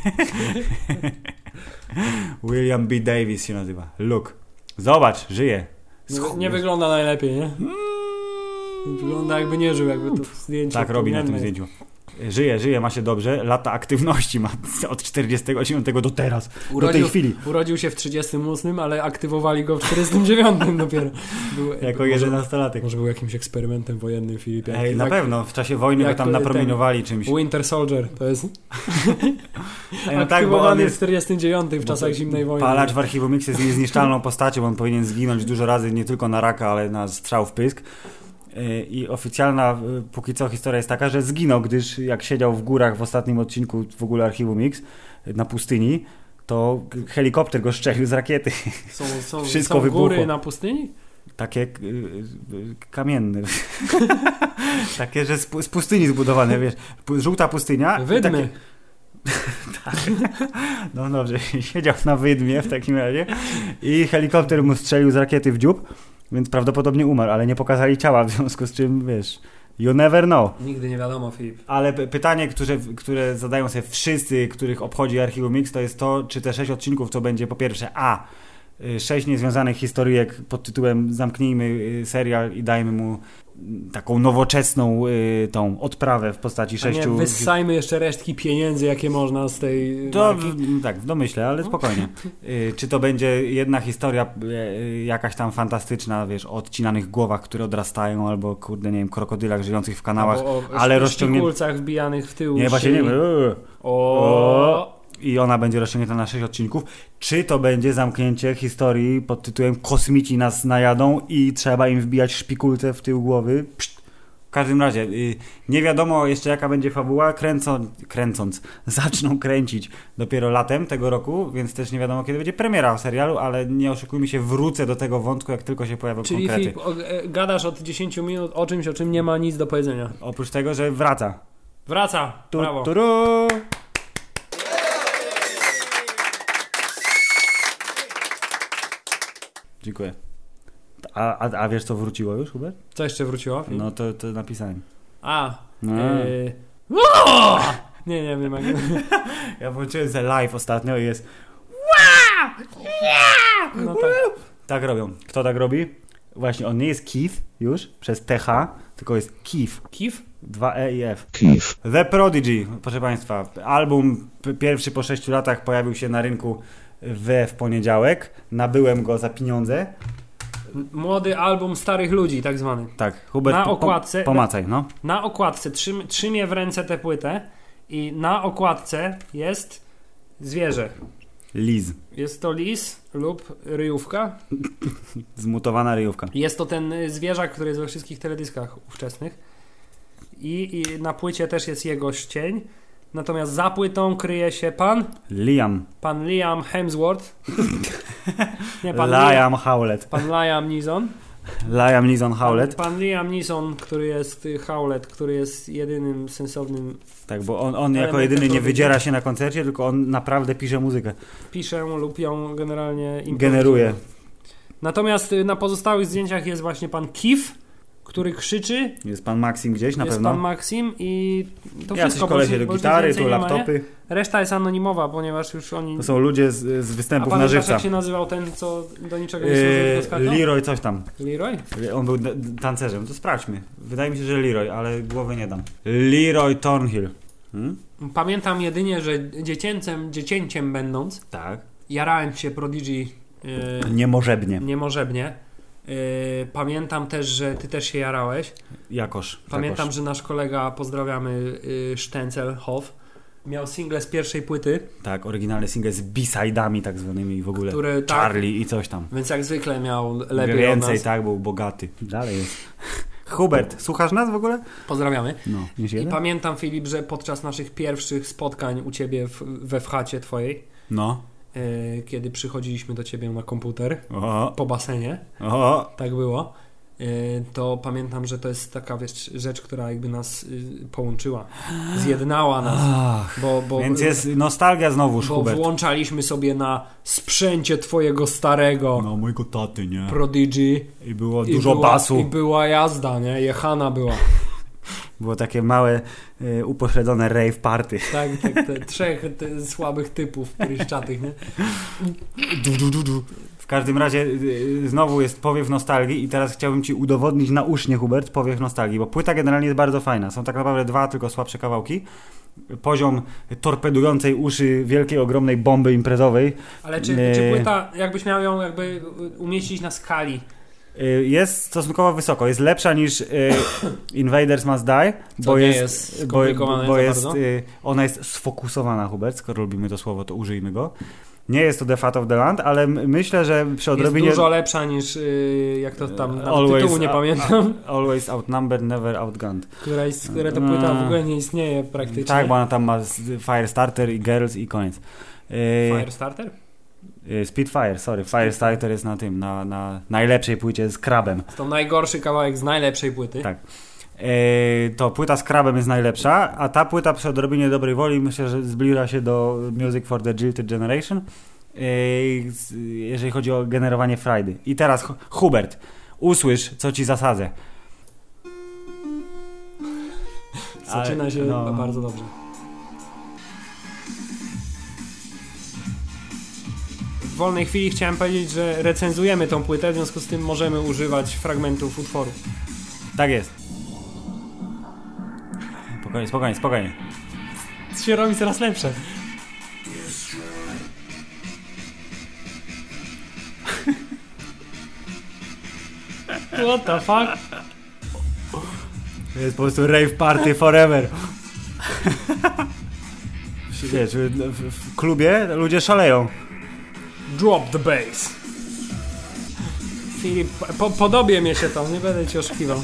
S1: William B. Davis się nazywa. Look. Zobacz, żyje.
S2: Nie,
S1: Schu-
S2: nie wygląda najlepiej, nie?
S1: Mm.
S2: Wygląda jakby nie żył, jakby to zdjęcie.
S1: Tak robi na tym
S2: powienne.
S1: zdjęciu. Żyje, żyje, ma się dobrze. Lata aktywności ma od 49 do teraz, do tej chwili.
S2: Urodził się w 38, ale aktywowali go w 49 dopiero. Był,
S1: Jako
S2: może-
S1: 11-latek.
S2: Może był jakimś eksperymentem wojennym Filip. jak-
S1: Ej, na
S2: jak-
S1: pewno, w czasie wojny
S2: jak
S1: go tam
S2: ten-
S1: napromieniowali czymś.
S2: Winter Soldier to jest
S1: Ej, no tak, bo on
S2: aktywowany w
S1: jest
S2: 49 w czasach zimnej wojny.
S1: palacz w archiwum Mix jest niezniszczalną postacią. On powinien zginąć dużo razy, nie tylko na raka, ale na strzał w pysk. Yy, I oficjalna yy, póki co historia jest taka, że zginął, gdyż jak siedział w górach w ostatnim odcinku w ogóle archiwum Mix yy, na pustyni, to helikopter go szczelił z rakiety.
S2: Są, są,
S1: Wszystko
S2: są góry
S1: wybuchło.
S2: na pustyni?
S1: Takie yy, yy, kamienne. takie, że z, pu- z pustyni zbudowane, wiesz. Pu- Żółta pustynia. i
S2: Wydmy.
S1: Takie, no dobrze, siedział na wydmie w takim razie i helikopter mu strzelił z rakiety w dziób, więc prawdopodobnie umarł, ale nie pokazali ciała, w związku z czym, wiesz, you never know.
S2: Nigdy nie wiadomo, Filip.
S1: Ale p- pytanie, które, które zadają sobie wszyscy, których obchodzi Archiwum Mix, to jest to, czy te sześć odcinków to będzie po pierwsze A. y, Sześć niezwiązanych historyjek pod tytułem Zamknijmy y, serial i dajmy mu y, taką nowoczesną y, tą odprawę w postaci
S2: A nie,
S1: sześciu...
S2: wyssajmy jeszcze resztki pieniędzy, jakie można z tej
S1: To
S2: marki. No.
S1: w, tak, w domyśle, ale spokojnie. Y, czy to będzie jedna historia y, y, jakaś tam fantastyczna, wiesz, o odcinanych głowach, które odrastają, albo kurde, nie wiem, krokodylach żyjących w kanałach,
S2: Albo o
S1: ale
S2: szp-
S1: rozciągnięta.
S2: szpikulcach wbijanych w tył.
S1: Nie, właśnie nie.
S2: szyi.
S1: Eee.
S2: O.
S1: I ona będzie rozciągnięta na 6 odcinków. Czy to będzie zamknięcie historii pod tytułem Kosmici nas najadą i trzeba im wbijać szpikulce w tył głowy? Pszt. każdym razie, y, nie wiadomo jeszcze jaka będzie fabuła, kręcą, kręcąc, zaczną kręcić dopiero latem tego roku, więc też nie wiadomo kiedy będzie premiera serialu, ale nie oszukujmy się, wrócę do tego wątku, jak tylko się pojawią
S2: Czyli
S1: konkrety.
S2: Filip, o, e, gadasz od 10 minut o czymś, o czym nie ma nic do powiedzenia.
S1: Oprócz tego, że wraca.
S2: Wraca!
S1: Tu,
S2: Brawo!
S1: turu! Dziękuję. A, a, a wiesz co wróciło już, Hubert?
S2: Co jeszcze wróciło? Filip?
S1: No to, to napisałem.
S2: A.
S1: No.
S2: Y... O! Nie, nie wiem. Jak...
S1: Ja włączyłem ze live ostatnio i jest
S2: No tak.
S1: tak robią. Kto tak robi? Właśnie on nie jest Keith już przez TH, tylko jest Keith.
S2: Kif?
S1: Dwa E i F.
S5: Keef,
S1: The Prodigy, proszę Państwa. Album p- pierwszy po 6 latach pojawił się na rynku we w poniedziałek. Nabyłem go za pieniądze.
S2: Młody album starych ludzi, tak zwany.
S1: Tak, Hubert,
S2: Na
S1: po-
S2: okładce-
S1: Po, pomacaj, no.
S2: Na okładce trzym, trzymie w ręce tę płytę i na okładce jest zwierzę.
S1: Liz.
S2: Jest to lis lub ryjówka.
S1: Zmutowana ryjówka.
S2: Jest to ten y, zwierzak, który jest we wszystkich teledyskach ówczesnych. I, I na płycie też jest jego cień. Natomiast za płytą kryje się pan,
S1: Liam.
S2: pan Liam Hemsworth. Nie, pan Liam.
S1: Liam Howlett.
S2: Pan Liam Neeson.
S1: Liam Neeson Howlett.
S2: Pan Liam Neeson, który jest y, Howlett, który jest jedynym sensownym,
S1: Tak, bo on, on jako
S2: Elementem
S1: jedyny nie
S2: człowieka.
S1: wydziera się na koncercie, tylko on naprawdę pisze muzykę.
S2: pisze lub ją generalnie improwizuje.
S1: Generuje.
S2: Natomiast y, na pozostałych zdjęciach jest właśnie pan Kif, który krzyczy,
S1: Jest pan Maxim gdzieś na
S2: jest
S1: pewno.
S2: pan Maxim i to
S1: Jacyś
S2: wszystko. bo
S1: kolesie
S2: już-
S1: do
S2: bo już
S1: gitary,
S2: nic więcej
S1: tu
S2: nie ma, nie?
S1: laptopy.
S2: Reszta jest anonimowa, ponieważ już oni...
S1: To są ludzie z, z
S2: A
S1: występów
S2: pan
S1: na
S2: Leszek
S1: żywca.
S2: jak się nazywał ten, co do niczego nie służy,
S1: Yy,
S2: tylko skakał?
S1: Leroy coś tam.
S2: Leroy?
S1: On był d- d- tancerzem, to sprawdźmy. Wydaje mi się, że Leroy, ale głowy nie dam. Leroy Thornhill. Hmm?
S2: Pamiętam jedynie, że dziecięcem, dziecięciem będąc,
S1: Tak.
S2: jarałem się Prodigy yy,
S1: Niemożebnie.
S2: niemożebnie. Yy, pamiętam też, że ty też się
S1: Tak,
S2: jarałeś.
S1: Jakoż.
S2: Pamiętam,
S1: takoż.
S2: że nasz kolega, pozdrawiamy, yy, Sztencel Hoff, miał single z pierwszej płyty,
S1: Tak, oryginalny single z B-side'ami tak zwanymi i w ogóle.
S2: Które tak-
S1: Charlie i coś tam.
S2: więc jak zwykle miał lepiej od
S1: Więcej,
S2: nas.
S1: tak, był bogaty. Dalej jest. Hubert, słuchasz nas w ogóle?
S2: Pozdrawiamy.
S1: No, niż
S2: I
S1: jeden?
S2: pamiętam, Filip, że podczas naszych pierwszych spotkań u ciebie w, we wchacie twojej,
S1: No.
S2: yy, kiedy przychodziliśmy do ciebie na komputer
S1: O,
S2: po basenie,
S1: o,
S2: tak było, yy, to pamiętam, że to jest taka wiesz, rzecz, która jakby nas yy, połączyła, zjednała nas,
S1: Ach,
S2: bo, bo,
S1: Więc jest nostalgia znowu,
S2: bo
S1: Hubert.
S2: włączaliśmy sobie na sprzęcie twojego starego
S1: No, mojego taty, nie?
S2: Prodigy
S1: I było
S2: i
S1: dużo
S2: była,
S1: basu.
S2: i była jazda, nie? Jechana była.
S1: Było takie małe, y, upośledzone rave party.
S2: Tak, tak, te trzech te słabych typów pryszczatych, nie?
S1: W każdym razie y, znowu jest powiew nostalgii i teraz chciałbym Ci udowodnić na usznie, Hubert, powiew nostalgii, bo płyta generalnie jest bardzo fajna. Są tak naprawdę dwa tylko słabsze kawałki. Poziom torpedującej uszy wielkiej, ogromnej bomby imprezowej
S2: Ale czy,
S1: Nie.
S2: czy płyta, jakbyś miał ją jakby umieścić na skali,
S1: y, jest stosunkowo wysoko. Jest lepsza niż y, Invaders Must Die,
S2: Co
S1: bo
S2: nie
S1: jest,
S2: jest
S1: bo,
S2: skomplikowane
S1: bo
S2: za
S1: jest
S2: bardzo.
S1: y, ona jest sfokusowana, Hubert, skoro lubimy to słowo, to użyjmy go. Nie jest to The Fat of the Land, ale m- myślę, że przy odrobinie...
S2: jest dużo lepsza niż, y, jak to tam, nawet
S1: E, Always
S2: tytułu nie
S1: a-
S2: pamiętam,
S1: Always outnumbered, never outgunned.
S2: która, jest, która ta płyta w ogóle nie istnieje praktycznie.
S1: Mm. Tak, bo ona tam ma s- Firestarter i Girls i koniec. E, Yy,
S2: Firestarter?
S1: yy, Speedfire, sorry. Firestarter jest na tym, na, na najlepszej płycie z Krabem.
S2: To najgorszy kawałek z najlepszej płyty.
S1: Tak. Yy, to płyta z Krabem jest najlepsza, a ta płyta przy odrobinie dobrej woli myślę, że zbliża się do Music for the Jilted Generation, yy, z- jeżeli chodzi o generowanie frajdy. I teraz, Hu- Hubert, usłysz, co ci zasadzę.
S2: Zaczyna
S1: Ale-
S2: się
S1: no.
S2: bardzo dobrze. W wolnej chwili chciałem powiedzieć, że recenzujemy tą płytę, w związku z tym możemy używać fragmentów utworu.
S1: Tak jest. Spokojnie, spokojnie, spokojnie.
S2: To się robi coraz lepsze. What the fuck?
S1: To jest po prostu rave party forever. Wiesz, w, w klubie ludzie szaleją.
S2: Drop the bass. Filip, po, podobie mnie się to, nie będę ci oszukiwał.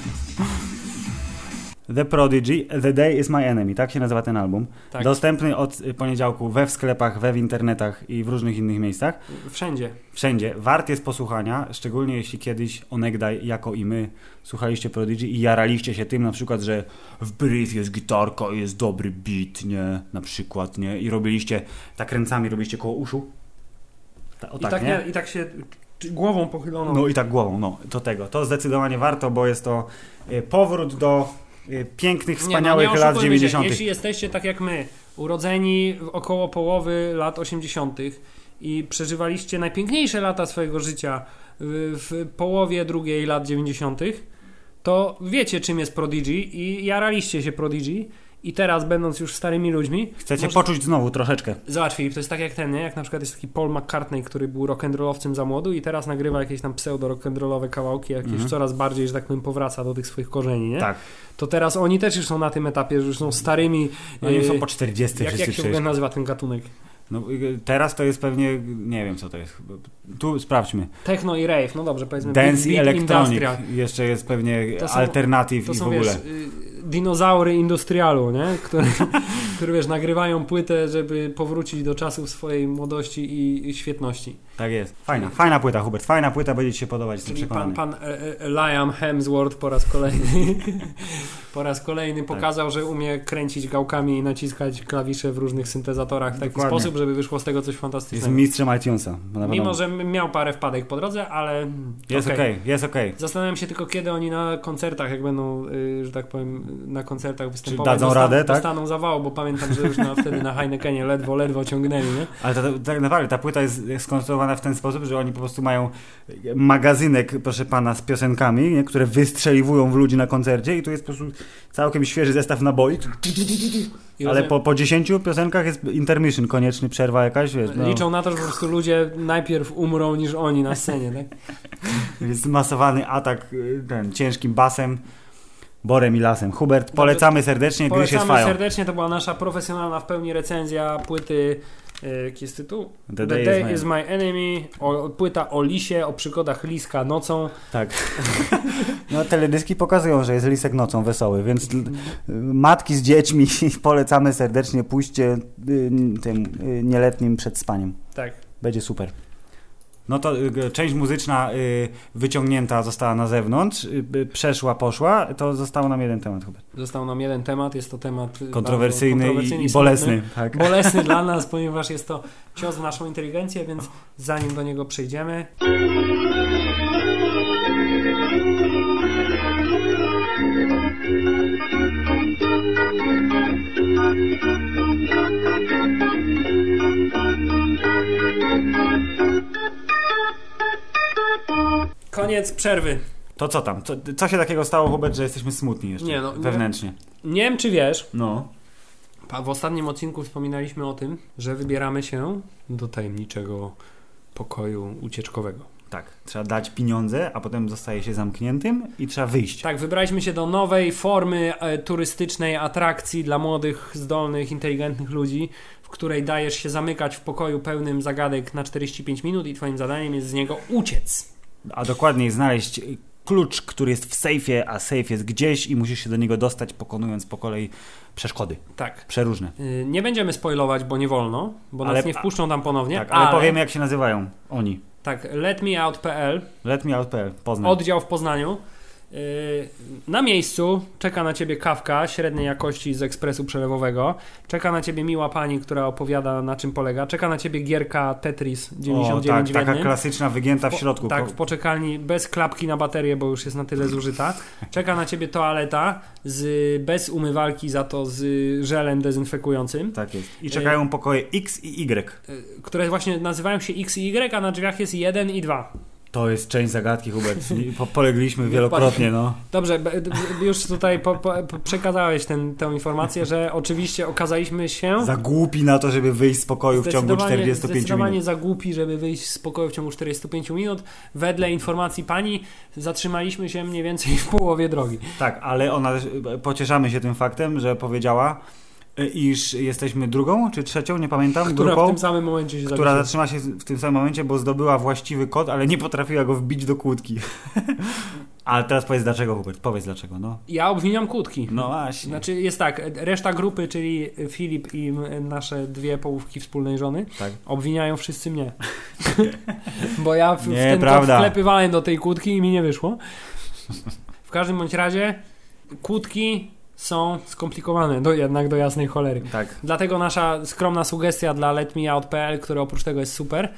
S1: The Prodigy, The Day is My Enemy, tak się nazywa ten album.
S2: Tak.
S1: Dostępny od y, poniedziałku we w sklepach, we w internetach i w różnych innych miejscach.
S2: Wszędzie.
S1: Wszędzie. Wart jest posłuchania, szczególnie jeśli kiedyś onegdaj, jako i my, słuchaliście Prodigy i jaraliście się tym na przykład, że w brief jest gitarka i jest dobry beat, nie? Na przykład, nie? I robiliście, tak ręcami robiliście koło uszu. Ta, o
S2: I, tak, nie? I tak się t- głową pochyloną.
S1: No i tak głową, no, do tego. To zdecydowanie warto, bo jest to y, powrót do y, pięknych, wspaniałych
S2: nie
S1: lat
S2: oszukujmy się.
S1: 90.
S2: Jeśli jesteście tak jak my, urodzeni w około połowy lat 80. i przeżywaliście najpiękniejsze lata swojego życia w, w połowie drugiej lat 90., to wiecie czym jest Prodigy i jaraliście się Prodigy i teraz będąc już starymi ludźmi
S1: Chcecie
S2: może-
S1: poczuć znowu troszeczkę.
S2: Zobacz Filip, to jest tak jak ten, nie? Jak na przykład jest taki Paul McCartney, który był rock'n'rollowcem za młodu i teraz nagrywa jakieś tam pseudo-rock'n'rollowe kawałki, jakieś
S1: Mhm.
S2: coraz bardziej, że tak powiem, powraca do tych swoich korzeni, nie?
S1: Tak.
S2: To teraz oni też już są na tym etapie, że już są starymi...
S1: No Oni już
S2: e,
S1: są po 40
S2: jak,
S1: wszyscy
S2: jak się w
S1: przecież.
S2: ogóle nazywa ten gatunek?
S1: No, y, teraz to jest pewnie, nie wiem co to jest. Tu sprawdźmy.
S2: Techno i rave, no dobrze, powiedzmy
S1: Dance i
S2: beat
S1: Electronic.
S2: industrial.
S1: Jeszcze jest pewnie
S2: To są-
S1: alternatyw
S2: To
S1: i w
S2: są,
S1: ogóle.
S2: wiesz, y, dinozaury industrialu, nie? Które, które, wiesz, nagrywają płytę, żeby powrócić do czasów swojej młodości i- i świetności.
S1: Tak jest. Fajna, fajna płyta, Hubert. Fajna płyta, będzie ci się podobać, jestem
S2: Czyli
S1: przekonany.
S2: pan, pan e, e, Liam Hemsworth po raz kolejny po raz
S1: Tak.
S2: kolejny pokazał, że umie kręcić gałkami i naciskać klawisze w różnych syntezatorach w taki
S1: Dokładnie.
S2: sposób, żeby wyszło z tego coś
S1: Jest
S2: fantastycznego.
S1: mistrzem iTunesa. na
S2: Mimo,
S1: pewno.
S2: że m- miał parę wpadek po drodze, ale
S1: Jest
S2: okej.
S1: okej, jest okej.
S2: Zastanawiam się tylko, kiedy oni na koncertach, jak będą, y, że tak powiem, na koncertach występować,
S1: dadzą radę, tak?
S2: dostaną zawału, bo pamiętam, że już na, wtedy na Heinekenie ledwo, ledwo ciągnęli, nie?
S1: Ale to, to, tak naprawdę ta płyta jest skonstruowana w ten sposób, że oni po prostu mają e, magazynek, proszę pana, z piosenkami, nie, które wystrzeliwują w ludzi na koncercie i tu jest po prostu całkiem świeży zestaw naboi.
S2: I
S1: Ale
S2: rozumiem-
S1: po, po 10 piosenkach jest intermission konieczny, przerwa jakaś, wiesz, no,
S2: Liczą na to, że po prostu ludzie najpierw umrą niż oni na scenie, tak?
S1: jest masowany atak y, ten, ciężkim basem, borem i lasem. Hubert, polecamy serdecznie, gry się
S2: Polecamy
S1: trwają.
S2: serdecznie, to była nasza profesjonalna w pełni recenzja płyty, e, jaki jest tytuł?
S1: The Day is My-
S2: is My Enemy, o, płyta o lisie, o przygodach liska nocą.
S1: Tak. No teledyski pokazują, że jest lisek nocą wesoły, więc l- matki z dziećmi polecamy serdecznie, pójście y, tym y, nieletnim przed spaniem.
S2: Tak.
S1: Będzie super. No to y, g- część muzyczna y, wyciągnięta została na zewnątrz, y, y, przeszła, poszła, to został nam jeden temat Hubert.
S2: Został nam jeden temat, jest to temat e,
S1: Kontrowersyjny,
S2: bardzo
S1: i,
S2: kontrowersyjny
S1: i
S2: smutny.
S1: bolesny. Tak.
S2: Bolesny dla nas, ponieważ jest to cios w naszą inteligencję, więc zanim do niego przejdziemy, koniec przerwy.
S1: To co tam? Co, co się takiego stało Hubert, że jesteśmy smutni jeszcze
S2: Nie, no, nie.
S1: wewnętrznie?
S2: Nie wiem, czy wiesz,
S1: No.
S2: pa- w ostatnim odcinku wspominaliśmy o tym, że wybieramy się do tajemniczego pokoju ucieczkowego.
S1: Tak, trzeba dać pieniądze, a potem zostaje się zamkniętym i trzeba wyjść.
S2: Tak, wybraliśmy się do nowej formy e, turystycznej atrakcji dla młodych, zdolnych, inteligentnych ludzi, w której dajesz się zamykać w pokoju pełnym zagadek na 45 minut i twoim zadaniem jest z niego uciec.
S1: a dokładniej znaleźć y, klucz, który jest w sejfie, a sejf jest gdzieś i musisz się do niego dostać, pokonując po kolei przeszkody
S2: Tak.
S1: przeróżne.
S2: Y, Nie będziemy spoilować, bo nie wolno, bo
S1: Ale-
S2: nas nie wpuszczą tam ponownie.
S1: tak, ale, powiemy jak się nazywają oni.
S2: Tak, letmeout.pl,
S1: Let me out.pl, Poznań.
S2: oddział w Poznaniu. Y, Na miejscu czeka na ciebie kawka średniej jakości z ekspresu przelewowego. Czeka na ciebie miła pani, która opowiada na czym polega. Czeka na ciebie gierka Tetris 99
S1: o, tak,
S2: w
S1: taka
S2: jednym.
S1: klasyczna wygięta w środku.
S2: Po, tak, w poczekalni bez klapki na baterię, bo już jest na tyle zużyta. Czeka na ciebie toaleta z, bez umywalki, za to z żelem dezynfekującym,
S1: tak jest. I czekają pokoje X i Y.
S2: y, które właśnie nazywają się X i Y, a na drzwiach jest 1 i 2.
S1: To jest część zagadki, Hubert. I po- Polegliśmy wielokrotnie, no.
S2: Dobrze, b- d- już tutaj po, po, po przekazałeś ten, tę informację, że oczywiście okazaliśmy się
S1: Za głupi na to, żeby wyjść z pokoju w ciągu
S2: zdecydowanie-
S1: 45
S2: zdecydowanie
S1: minut.
S2: za głupi, żeby wyjść z pokoju w ciągu 45 minut. Wedle informacji pani zatrzymaliśmy się mniej więcej w połowie drogi.
S1: Tak, ale ona, pocieszamy się tym faktem, że powiedziała, y, iż jesteśmy drugą czy trzecią, nie pamiętam,
S2: Która
S1: grupą.
S2: w tym samym momencie się
S1: która
S2: zawiesiła.
S1: zatrzymała się w tym samym momencie, bo zdobyła właściwy kod, ale nie potrafiła go wbić do kłódki. Ale teraz powiedz dlaczego, Hubert, powiedz dlaczego, no.
S2: Ja obwiniam kłódki.
S1: No właśnie.
S2: Znaczy jest tak, reszta grupy, czyli Filip i m- nasze dwie połówki wspólnej żony,
S1: Tak.
S2: obwiniają wszyscy mnie. Bo ja w, w
S1: Nie,
S2: ten
S1: prawda.
S2: top wklepywałem do tej kłódki i mi nie wyszło. W każdym bądź razie kłódki są skomplikowane, do, jednak do jasnej cholery.
S1: Tak.
S2: Dlatego nasza skromna sugestia dla letmeout.pl, który oprócz tego jest super,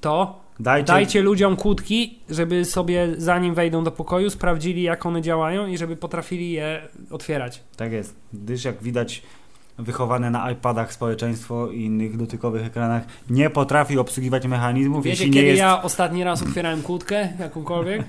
S2: to
S1: Dajcie,
S2: dajcie ludziom kłódki, żeby sobie zanim wejdą do pokoju sprawdzili jak one działają i żeby potrafili je otwierać.
S1: Tak jest. Gdyż jak widać wychowane na iPadach społeczeństwo i innych dotykowych ekranach nie potrafi obsługiwać mechanizmów,
S2: Wiecie,
S1: jeśli
S2: kiedy
S1: nie jest...
S2: ja ostatni raz otwierałem kłódkę jakąkolwiek?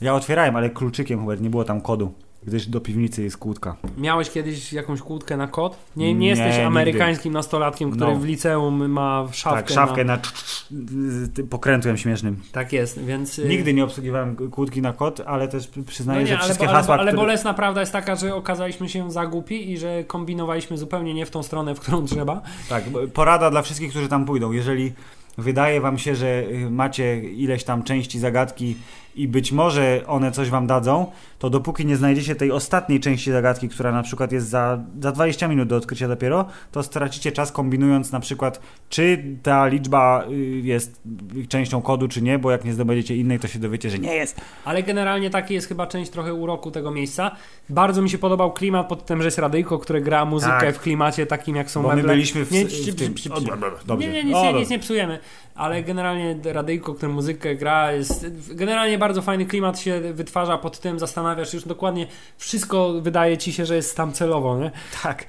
S1: Ja otwierałem, ale kluczykiem Hubert, nie było tam kodu. Gdyż do piwnicy jest kłódka.
S2: Miałeś kiedyś jakąś kłódkę na kod? Nie, nie,
S1: Nie,
S2: jesteś
S1: nigdy.
S2: amerykańskim nastolatkiem, który
S1: No.
S2: w liceum ma szafkę.
S1: tak, szafkę
S2: Na...
S1: na, cz- cz- z tym pokrętłem śmiesznym.
S2: Tak jest, więc... y,
S1: Nigdy nie obsługiwałem kłódki na kod, ale też
S2: No
S1: przyznaję,
S2: nie,
S1: że
S2: ale,
S1: wszystkie
S2: bo, ale,
S1: hasła,
S2: bo- ale
S1: które...
S2: bolesna prawda jest taka, że okazaliśmy się za głupi i że kombinowaliśmy zupełnie nie w tą stronę, w którą trzeba.
S1: Tak, bo- porada dla wszystkich, którzy tam pójdą. Jeżeli wydaje wam się, że y, macie ileś tam części zagadki i być może one coś wam dadzą, to dopóki nie znajdziecie tej ostatniej części zagadki, która na przykład jest za, za 20 minut do odkrycia dopiero, to stracicie czas kombinując na przykład, czy ta liczba y, jest y, częścią kodu, czy nie, bo jak nie zdobędziecie innej, to się dowiecie, że nie jest.
S2: Ale generalnie taki jest chyba część trochę uroku tego miejsca. Bardzo mi się podobał klimat pod tym, że jest radyjko, które gra muzykę
S1: Tak.
S2: w klimacie takim, jak są
S1: Bo my
S2: meble.
S1: byliśmy w,
S2: Nie,
S1: w tym... O, dobra, dobra,
S2: Nie,
S1: dobrze.
S2: nie, nic,
S1: O,
S2: nie,
S1: dobra.
S2: nic nie psujemy. Ale generalnie Radyjko, który muzykę gra, jest. Generalnie bardzo fajny klimat się wytwarza pod tym, zastanawiasz już dokładnie. Wszystko wydaje ci się, że jest tam celowo, nie?
S1: Tak.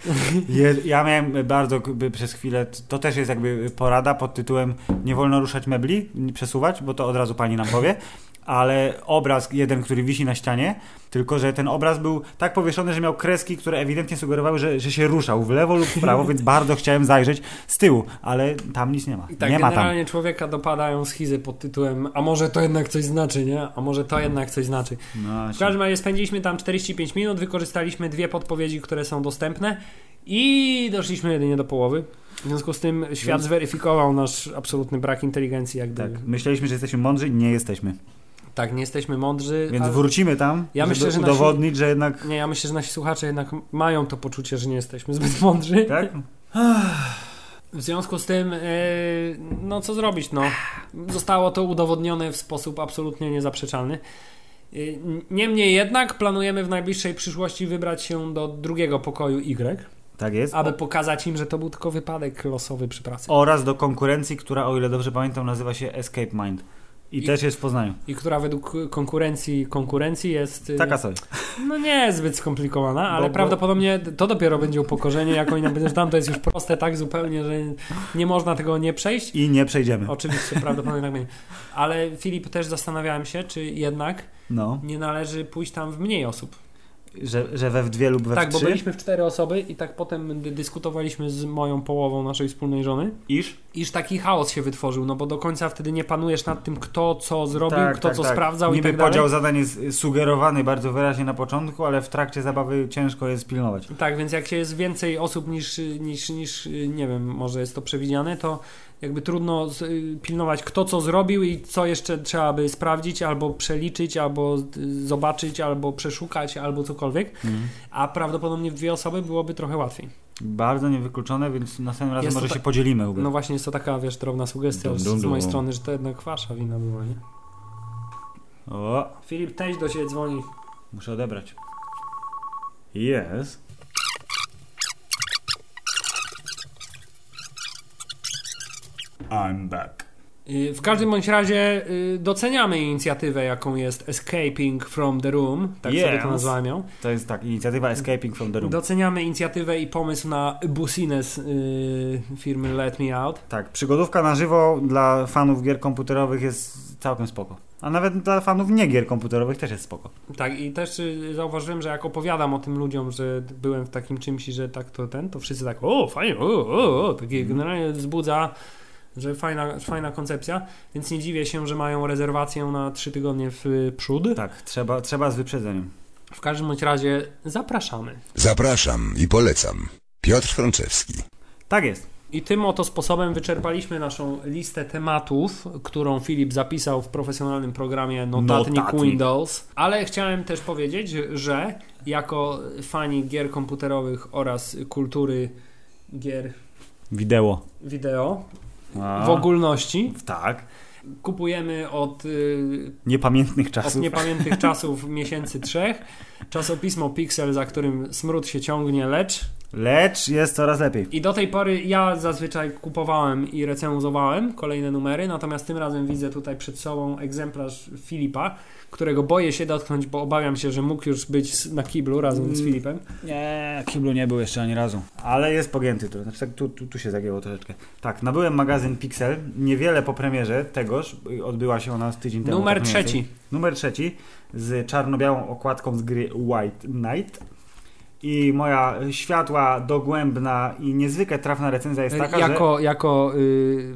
S1: Je, ja miałem bardzo jakby przez chwilę, to też jest jakby porada pod tytułem nie wolno ruszać mebli, nie przesuwać, bo to od razu pani nam powie, ale obraz jeden, który wisi na ścianie, tylko że ten obraz był tak powieszony, że miał kreski, które ewidentnie sugerowały, że, że się ruszał w lewo lub w prawo, więc bardzo chciałem zajrzeć z tyłu, ale tam nic nie ma.
S2: I tak
S1: nie ma tam.
S2: generalnie człowieka dopadają schizy pod tytułem A może to jednak coś znaczy, nie? A może to jednak coś znaczy.
S1: No,
S2: W każdym razie spędziliśmy tam 45 minut, wykorzystaliśmy dwie podpowiedzi, które są dostępne i doszliśmy jedynie do połowy. W związku z tym świat
S1: Więc-
S2: zweryfikował nasz absolutny brak inteligencji, jak
S1: tak.
S2: gdyby. Tak,
S1: Myśleliśmy, że jesteśmy mądrzy, nie jesteśmy.
S2: nie jesteśmy mądrzy.
S1: Więc
S2: ale-
S1: wrócimy tam,
S2: Ja
S1: żeby
S2: myślę, że nasi-
S1: udowodnić, że jednak...
S2: Nie, ja myślę, że nasi słuchacze jednak mają to poczucie, że nie jesteśmy zbyt mądrzy.
S1: Tak?
S2: W związku z tym, yy, no co zrobić, no. Zostało to udowodnione w sposób absolutnie niezaprzeczalny. Yy, Niemniej jednak planujemy w najbliższej przyszłości wybrać się do drugiego pokoju Y,
S1: Tak jest.
S2: aby pokazać im, że to był tylko wypadek losowy przy pracy.
S1: oraz do konkurencji, która, o ile dobrze pamiętam, nazywa się Escape Mind. I,
S2: I- y-
S1: też jest w Poznaniu.
S2: I która według konkurencji konkurencji jest yy,
S1: Taka sobie.
S2: no nie zbyt skomplikowana, ale
S1: bo-
S2: prawdopodobnie to dopiero będzie upokorzenie, jak oni nam będą, że tam to jest już proste tak zupełnie, że nie można tego nie przejść.
S1: I nie przejdziemy.
S2: Oczywiście, prawdopodobnie tak będzie. Ale Filip, też zastanawiałem się, czy jednak
S1: No,
S2: nie należy pójść tam w mniej osób.
S1: że, że we w dwie lub we
S2: tak,
S1: w
S2: bo
S1: trzy.
S2: byliśmy w cztery osoby i tak potem dy- dyskutowaliśmy z moją połową naszej wspólnej żony,
S1: Iż?
S2: iż taki chaos się wytworzył, no bo do końca wtedy nie panujesz nad tym, kto co zrobił,
S1: Tak,
S2: kto
S1: tak,
S2: co
S1: tak.
S2: sprawdzał
S1: Niby
S2: i tak dalej.
S1: podział zadań jest sugerowany bardzo wyraźnie na początku, ale w trakcie zabawy ciężko jest pilnować.
S2: Tak, więc jak się jest więcej osób niż, niż, niż, y, nie wiem, może jest to przewidziane, to jakby trudno z- y, pilnować kto co zrobił i co jeszcze trzeba by sprawdzić, albo przeliczyć, albo y, zobaczyć, albo przeszukać, albo cokolwiek. A prawdopodobnie w dwie osoby byłoby trochę łatwiej.
S1: Bardzo niewykluczone, więc następnym razem
S2: Jest
S1: może
S2: to
S1: się
S2: ta-
S1: podzielimy. Hubert.
S2: No właśnie jest to taka, wiesz, drobna sugestia
S1: Dum,
S2: z-
S1: dum,
S2: z
S1: dum.
S2: mojej strony, że to jednak wasza wina była, nie?
S1: O,
S2: Filip, też do ciebie dzwoni.
S1: muszę odebrać. Jest. I'm back.
S2: Y, W każdym bądź razie y, doceniamy inicjatywę, jaką jest Escaping from the Room, tak sobie
S1: Yes.
S2: to nazwałem ją.
S1: To jest tak, inicjatywa Escaping from the Room.
S2: Doceniamy inicjatywę i pomysł na Busines y, firmy Let Me Out.
S1: Tak, przygodówka na żywo dla fanów gier komputerowych jest całkiem spoko. A nawet dla fanów nie gier komputerowych też jest spoko.
S2: Tak, i też y, zauważyłem, że jak opowiadam o tym ludziom, że byłem w takim czymś i że tak to ten, to wszyscy tak, o, fajnie, o, o, o,
S1: Mhm.
S2: takie generalnie wzbudza, że fajna, fajna koncepcja, więc nie dziwię się, że mają rezerwację na trzy tygodnie w y, przód.
S1: Tak, trzeba, trzeba z wyprzedzeniem.
S2: W każdym bądź razie zapraszamy.
S7: Zapraszam i polecam. Piotr Frączewski.
S1: Tak jest.
S2: I tym oto sposobem wyczerpaliśmy naszą listę tematów, którą Filip zapisał w profesjonalnym programie Notatnik,
S1: Notatnik.
S2: Windows. Ale chciałem też powiedzieć, że jako fani gier komputerowych oraz kultury gier
S1: Wideo.
S2: wideo
S1: A,
S2: w ogólności
S1: Tak.
S2: kupujemy od y,
S1: Niepamiętnych czasów.
S2: od niepamiętnych czasów miesięcy trzech. Czasopismo Pixel, za którym smród się ciągnie, lecz.
S1: Lecz jest coraz lepiej.
S2: I do tej pory ja zazwyczaj kupowałem i recenzowałem kolejne numery, natomiast tym razem widzę tutaj przed sobą egzemplarz Filipa, którego boję się dotknąć, bo obawiam się, że mógł już być s- na kiblu razem
S1: Mm.
S2: z Filipem.
S1: Nie, Kiblu nie był jeszcze ani razu. Ale jest pogięty tu. Znaczy, tak, tu, tu, tu się zagięło troszeczkę. Tak, nabyłem magazyn Pixel. Niewiele po premierze tegoż. y, Odbyła się ona z tydzień temu.
S2: Numer
S1: tak mniej więcej.
S2: trzeci.
S1: Numer trzeci z czarno-białą okładką z gry White Knight. I moja światła, dogłębna i niezwykle trafna recenzja jest taka, że...
S2: E, jako jako y,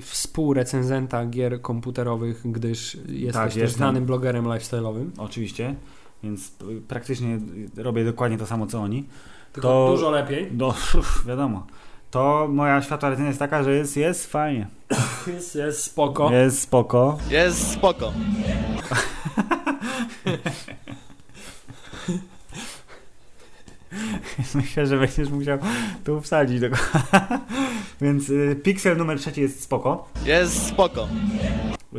S2: współrecenzenta gier komputerowych, gdyż jesteś też
S1: Tak, jestem.
S2: znanym blogerem lifestyle'owym.
S1: Oczywiście, więc y, praktycznie y, robię dokładnie to samo, co oni.
S2: Tylko
S1: To-
S2: dużo lepiej.
S1: No, wiadomo. To moja światła recenzja jest taka, że jest, jest fajnie.
S2: Jest, jest spoko.
S1: Jest spoko.
S9: Jest spoko.
S1: Myślę, że będziesz musiał tu wsadzić do Więc y, Pixel numer trzeci jest spoko.
S9: Jest spoko.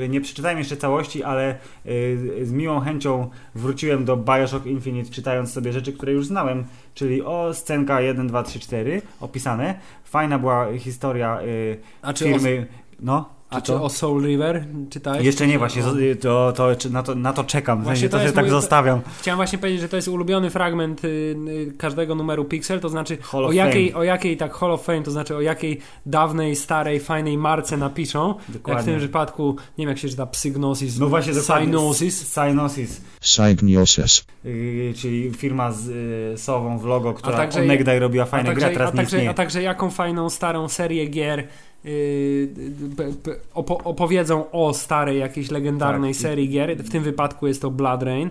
S1: Y, Nie przeczytałem jeszcze całości, ale y, z miłą chęcią wróciłem do Bioshock Infinite, czytając sobie rzeczy, które już znałem, czyli o scenka 1, 2, 3, 4 opisane. Fajna była historia y,
S2: A czy o
S1: firmy. No,
S2: A czy
S1: to?
S2: o Soul River czytałeś?
S1: Jeszcze nie właśnie, zo- y, to, to, czy- na, to, na to czekam, w
S2: No. Właśnie
S1: sensie
S2: to
S1: to się
S2: jest
S1: tak
S2: moje-
S1: zostawiam.
S2: Chciałem właśnie powiedzieć, że to jest ulubiony fragment y, y, każdego numeru Pixel, to znaczy
S1: Hall of
S2: o jakiej, o jakiej, tak Hall of Fame, to znaczy o jakiej dawnej, starej, fajnej marce napiszą. Jak w
S1: Dokładnie.
S2: tym przypadku, nie wiem jak się czyta, Psygnosis,
S1: No właśnie, dokładnie.
S2: Cynosis.
S1: Cynosis.
S5: Psygnosis.
S1: Yy, czyli firma z y, Sową w logo, która
S2: także-
S1: onegdaj robiła
S2: A
S1: fajne gry, a
S2: także, a,
S1: teraz nie
S2: także,
S1: istnieje.
S2: a tak- także jaką fajną, starą serię gier y, y, p- p- opo- opowiedzą o starej, jakiejś legendarnej
S1: Tak.
S2: serii gier. W tym wypadku jest to Blood Rain.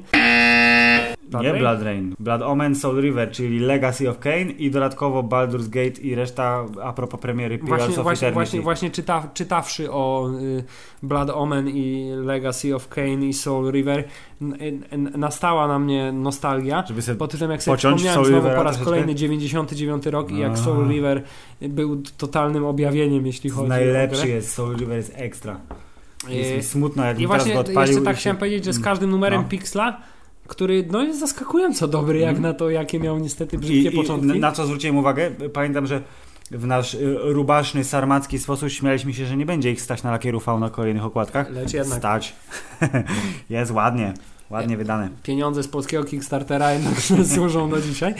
S1: Nie Blood Rain. Blood Omen, Soul River, czyli Legacy of Kane i dodatkowo Baldur's Gate i reszta a propos premiery Pillars
S2: Właśnie,
S1: of
S2: właśnie,
S1: Eternity.
S2: właśnie, właśnie czyta, czytawszy o y, Blood Omen i Legacy of Kane i Soul River, n, y, n, nastała na mnie nostalgia.
S1: Żeby sobie...
S2: Po tym jak sobie
S1: Pociąć
S2: wspomniałem
S1: Soul
S2: znowu
S1: Rivera
S2: po raz
S1: troszeczkę?
S2: kolejny 99 rok i jak
S1: Aha.
S2: Soul River był totalnym objawieniem, jeśli chodzi o
S1: Najlepszy
S2: grę.
S1: jest, Soul River jest ekstra. Jest
S2: Y,
S1: mi smutno, jak
S2: I
S1: mi teraz
S2: właśnie
S1: go odpalił.
S2: jeszcze
S1: i
S2: tak
S1: się-
S2: chciałem powiedzieć, że z każdym numerem
S1: No.
S2: Pixla, który no jest zaskakująco dobry, jak
S1: Mm.
S2: na to, jakie miał niestety brzydkie
S1: I, i
S2: początki.
S1: na, na co zwróciłem uwagę? Pamiętam, że w nasz y, rubaszny, sarmacki sposób śmialiśmy się, że nie będzie ich stać na lakieru V na kolejnych okładkach.
S2: Lecz jednak.
S1: Stać. jest ładnie. Ładnie wydane.
S2: pieniądze z polskiego Kickstartera jednak służą do dzisiaj. E,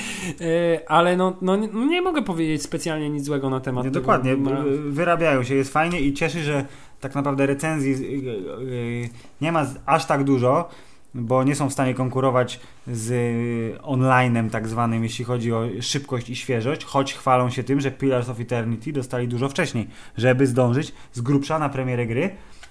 S2: Ale no, no nie- nie mogę powiedzieć specjalnie nic złego na temat
S1: Nie,
S2: tego.
S1: dokładnie,
S2: No Ma-
S1: b- wyrabiają się, jest fajnie i cieszy, że tak naprawdę recenzji z- y- y- nie ma z- aż tak dużo, bo nie są w stanie konkurować z y, online'em tak zwanym, jeśli chodzi o szybkość i świeżość, choć chwalą się tym, że Pillars of Eternity dostali dużo wcześniej, żeby zdążyć z grubsza na premierę gry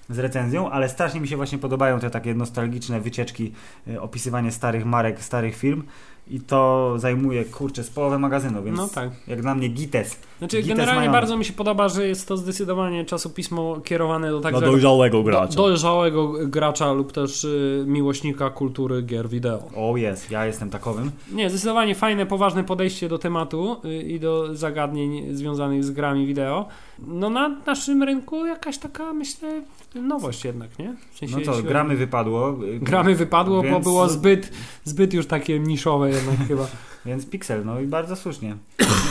S1: z recenzją, ale strasznie mi się właśnie podobają te takie nostalgiczne wycieczki, y, opisywanie starych marek, starych firm i to zajmuje, kurczę, z połowę magazynu, więc
S2: No tak.
S1: jak dla mnie gites.
S2: Znaczy,
S1: Gites
S2: generalnie
S1: mają.
S2: bardzo mi się podoba, że jest to zdecydowanie czasopismo kierowane do tak
S1: Do
S2: zwanego
S1: No, dojrzałego
S2: do,
S1: gracza.
S2: dojrzałego gracza lub też y, miłośnika kultury gier wideo.
S1: O jest, ja jestem takowym.
S2: Nie, zdecydowanie fajne, poważne podejście do tematu y, i do zagadnień związanych z grami wideo. No na naszym rynku jakaś taka, myślę, nowość jednak, nie? W sensie,
S1: No co,
S2: jeśli-
S1: gramy wypadło. y,
S2: Gramy wypadło, bo
S1: Więc-
S2: było zbyt, zbyt już takie niszowe jednak chyba.
S1: Więc Pixel, no i bardzo słusznie.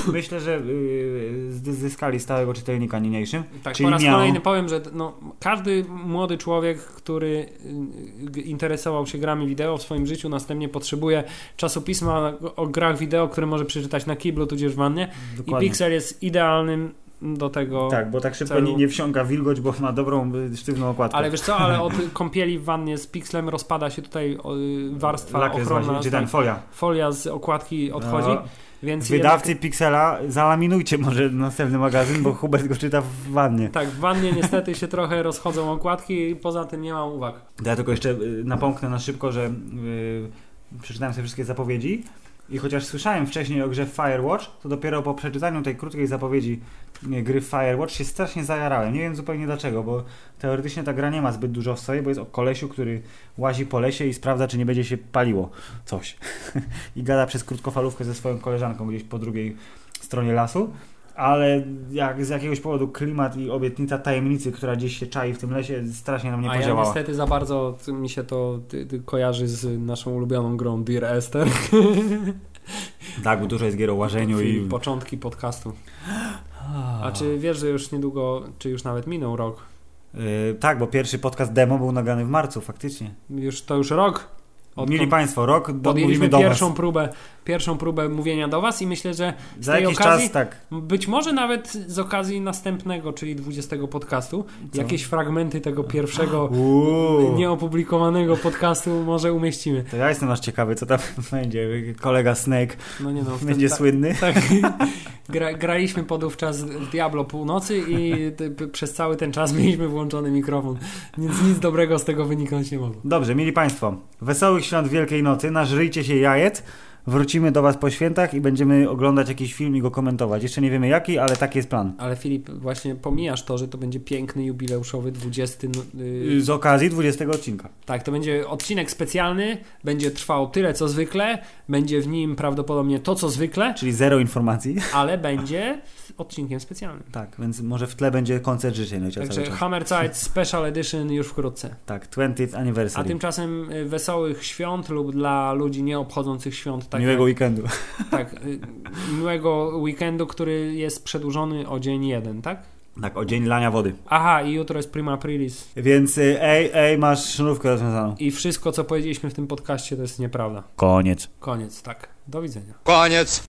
S1: Myślę, że y, zdy- zyskali stałego czytelnika niniejszym.
S2: Tak,
S1: Czyli
S2: po raz
S1: miał-
S2: kolejny powiem, że no, każdy młody człowiek, który y, g- interesował się grami wideo w swoim życiu, następnie potrzebuje czasopisma o grach wideo, które może przeczytać na kiblu tudzież w wannie. I Pixel jest idealnym do tego.
S1: Tak, bo tak szybko
S2: celu-
S1: nie, nie wsiąka wilgoć, bo ma dobrą, y, sztywną okładkę.
S2: Ale wiesz co, ale od kąpieli w wannie z Pixlem rozpada się tutaj o, y, warstwa
S1: Lakier
S2: ochronna,
S1: właśnie, czy
S2: tak,
S1: ten, folia.
S2: folia z okładki odchodzi,
S1: No,
S2: więc jednak-
S1: Wydawcy Pixela, zalaminujcie może następny magazyn, bo Hubert go czyta w wannie.
S2: Tak, w wannie niestety się trochę rozchodzą okładki i poza tym nie mam uwag.
S1: To Ja tylko jeszcze y, napomknę na szybko, że y, przeczytałem sobie wszystkie zapowiedzi i chociaż słyszałem wcześniej o grze Firewatch, to dopiero po przeczytaniu tej krótkiej zapowiedzi nie, gry Firewatch się strasznie zajarałem. Nie wiem zupełnie dlaczego, bo teoretycznie ta gra nie ma zbyt dużo w sobie, bo jest o kolesiu, który łazi po lesie i sprawdza, czy nie będzie się paliło coś. I gada przez krótkofalówkę ze swoją koleżanką gdzieś po drugiej stronie lasu. Ale jak z jakiegoś powodu klimat i obietnica tajemnicy, która gdzieś się czai w tym lesie, strasznie na mnie
S2: A ja
S1: podziałała.
S2: niestety za bardzo t- mi się to ty, ty kojarzy z naszą ulubioną grą Dear Esther.
S1: Tak, bo dużo jest gier o łażeniu i...
S2: Czyli początki podcastu. A czy wiesz, że już niedługo, czy już nawet minął rok?
S1: Yy, tak, bo pierwszy podcast demo był nagrany w marcu, faktycznie.
S2: Już to już rok. odkąd
S1: Mieli Państwo rok, do, mówimy
S2: Podjęliśmy
S1: do
S2: pierwszą
S1: was.
S2: próbę, pierwszą próbę mówienia do was i myślę, że z
S1: Za
S2: tej
S1: jakiś
S2: okazji,
S1: czas, tak.
S2: być może nawet z okazji następnego, czyli 20 podcastu,
S1: Co?
S2: jakieś fragmenty tego pierwszego
S1: Uuu,
S2: nieopublikowanego podcastu może umieścimy.
S1: to ja jestem aż ciekawy, co tam będzie. Kolega Snake
S2: No nie no,
S1: będzie
S2: tak,
S1: słynny.
S2: tak. Gra, graliśmy podówczas w Diablo północy i ty, p- przez cały ten czas mieliśmy włączony mikrofon, więc nic dobrego z tego wyniknąć nie mogło.
S1: Dobrze, mieli Państwo, wesołych świąt Wielkiej Nocy, nażryjcie się jajet, wrócimy do Was po świętach i będziemy oglądać jakiś film i go komentować. Jeszcze nie wiemy jaki, ale taki jest plan.
S2: Ale Filip, właśnie pomijasz to, że to będzie piękny jubileuszowy 20. no- y,
S1: Yy, Z okazji 20 odcinka.
S2: Tak, to będzie odcinek specjalny, będzie trwał tyle co zwykle, będzie w nim prawdopodobnie to co zwykle,
S1: Czyli zero informacji.
S2: ale będzie odcinkiem specjalnym.
S1: Tak, więc może w tle będzie koncert życzeń leciał
S2: Także
S1: cały czas.
S2: Hammerzeit Special Edition już wkrótce.
S1: Tak, 20th
S2: A
S1: anniversary.
S2: tymczasem y, wesołych świąt lub dla ludzi nieobchodzących świąt, tak,
S1: Miłego weekendu.
S2: tak y, miłego weekendu, który jest przedłużony o dzień jeden, tak?
S1: Tak, o dzień lania wody.
S2: Aha, i jutro jest Prima Aprilis.
S1: Więc y, ej, ej, masz sznurówkę rozwiązaną.
S2: I wszystko, co powiedzieliśmy w tym podcaście, to jest nieprawda.
S1: Koniec.
S2: Koniec, tak. Do widzenia.
S9: Koniec.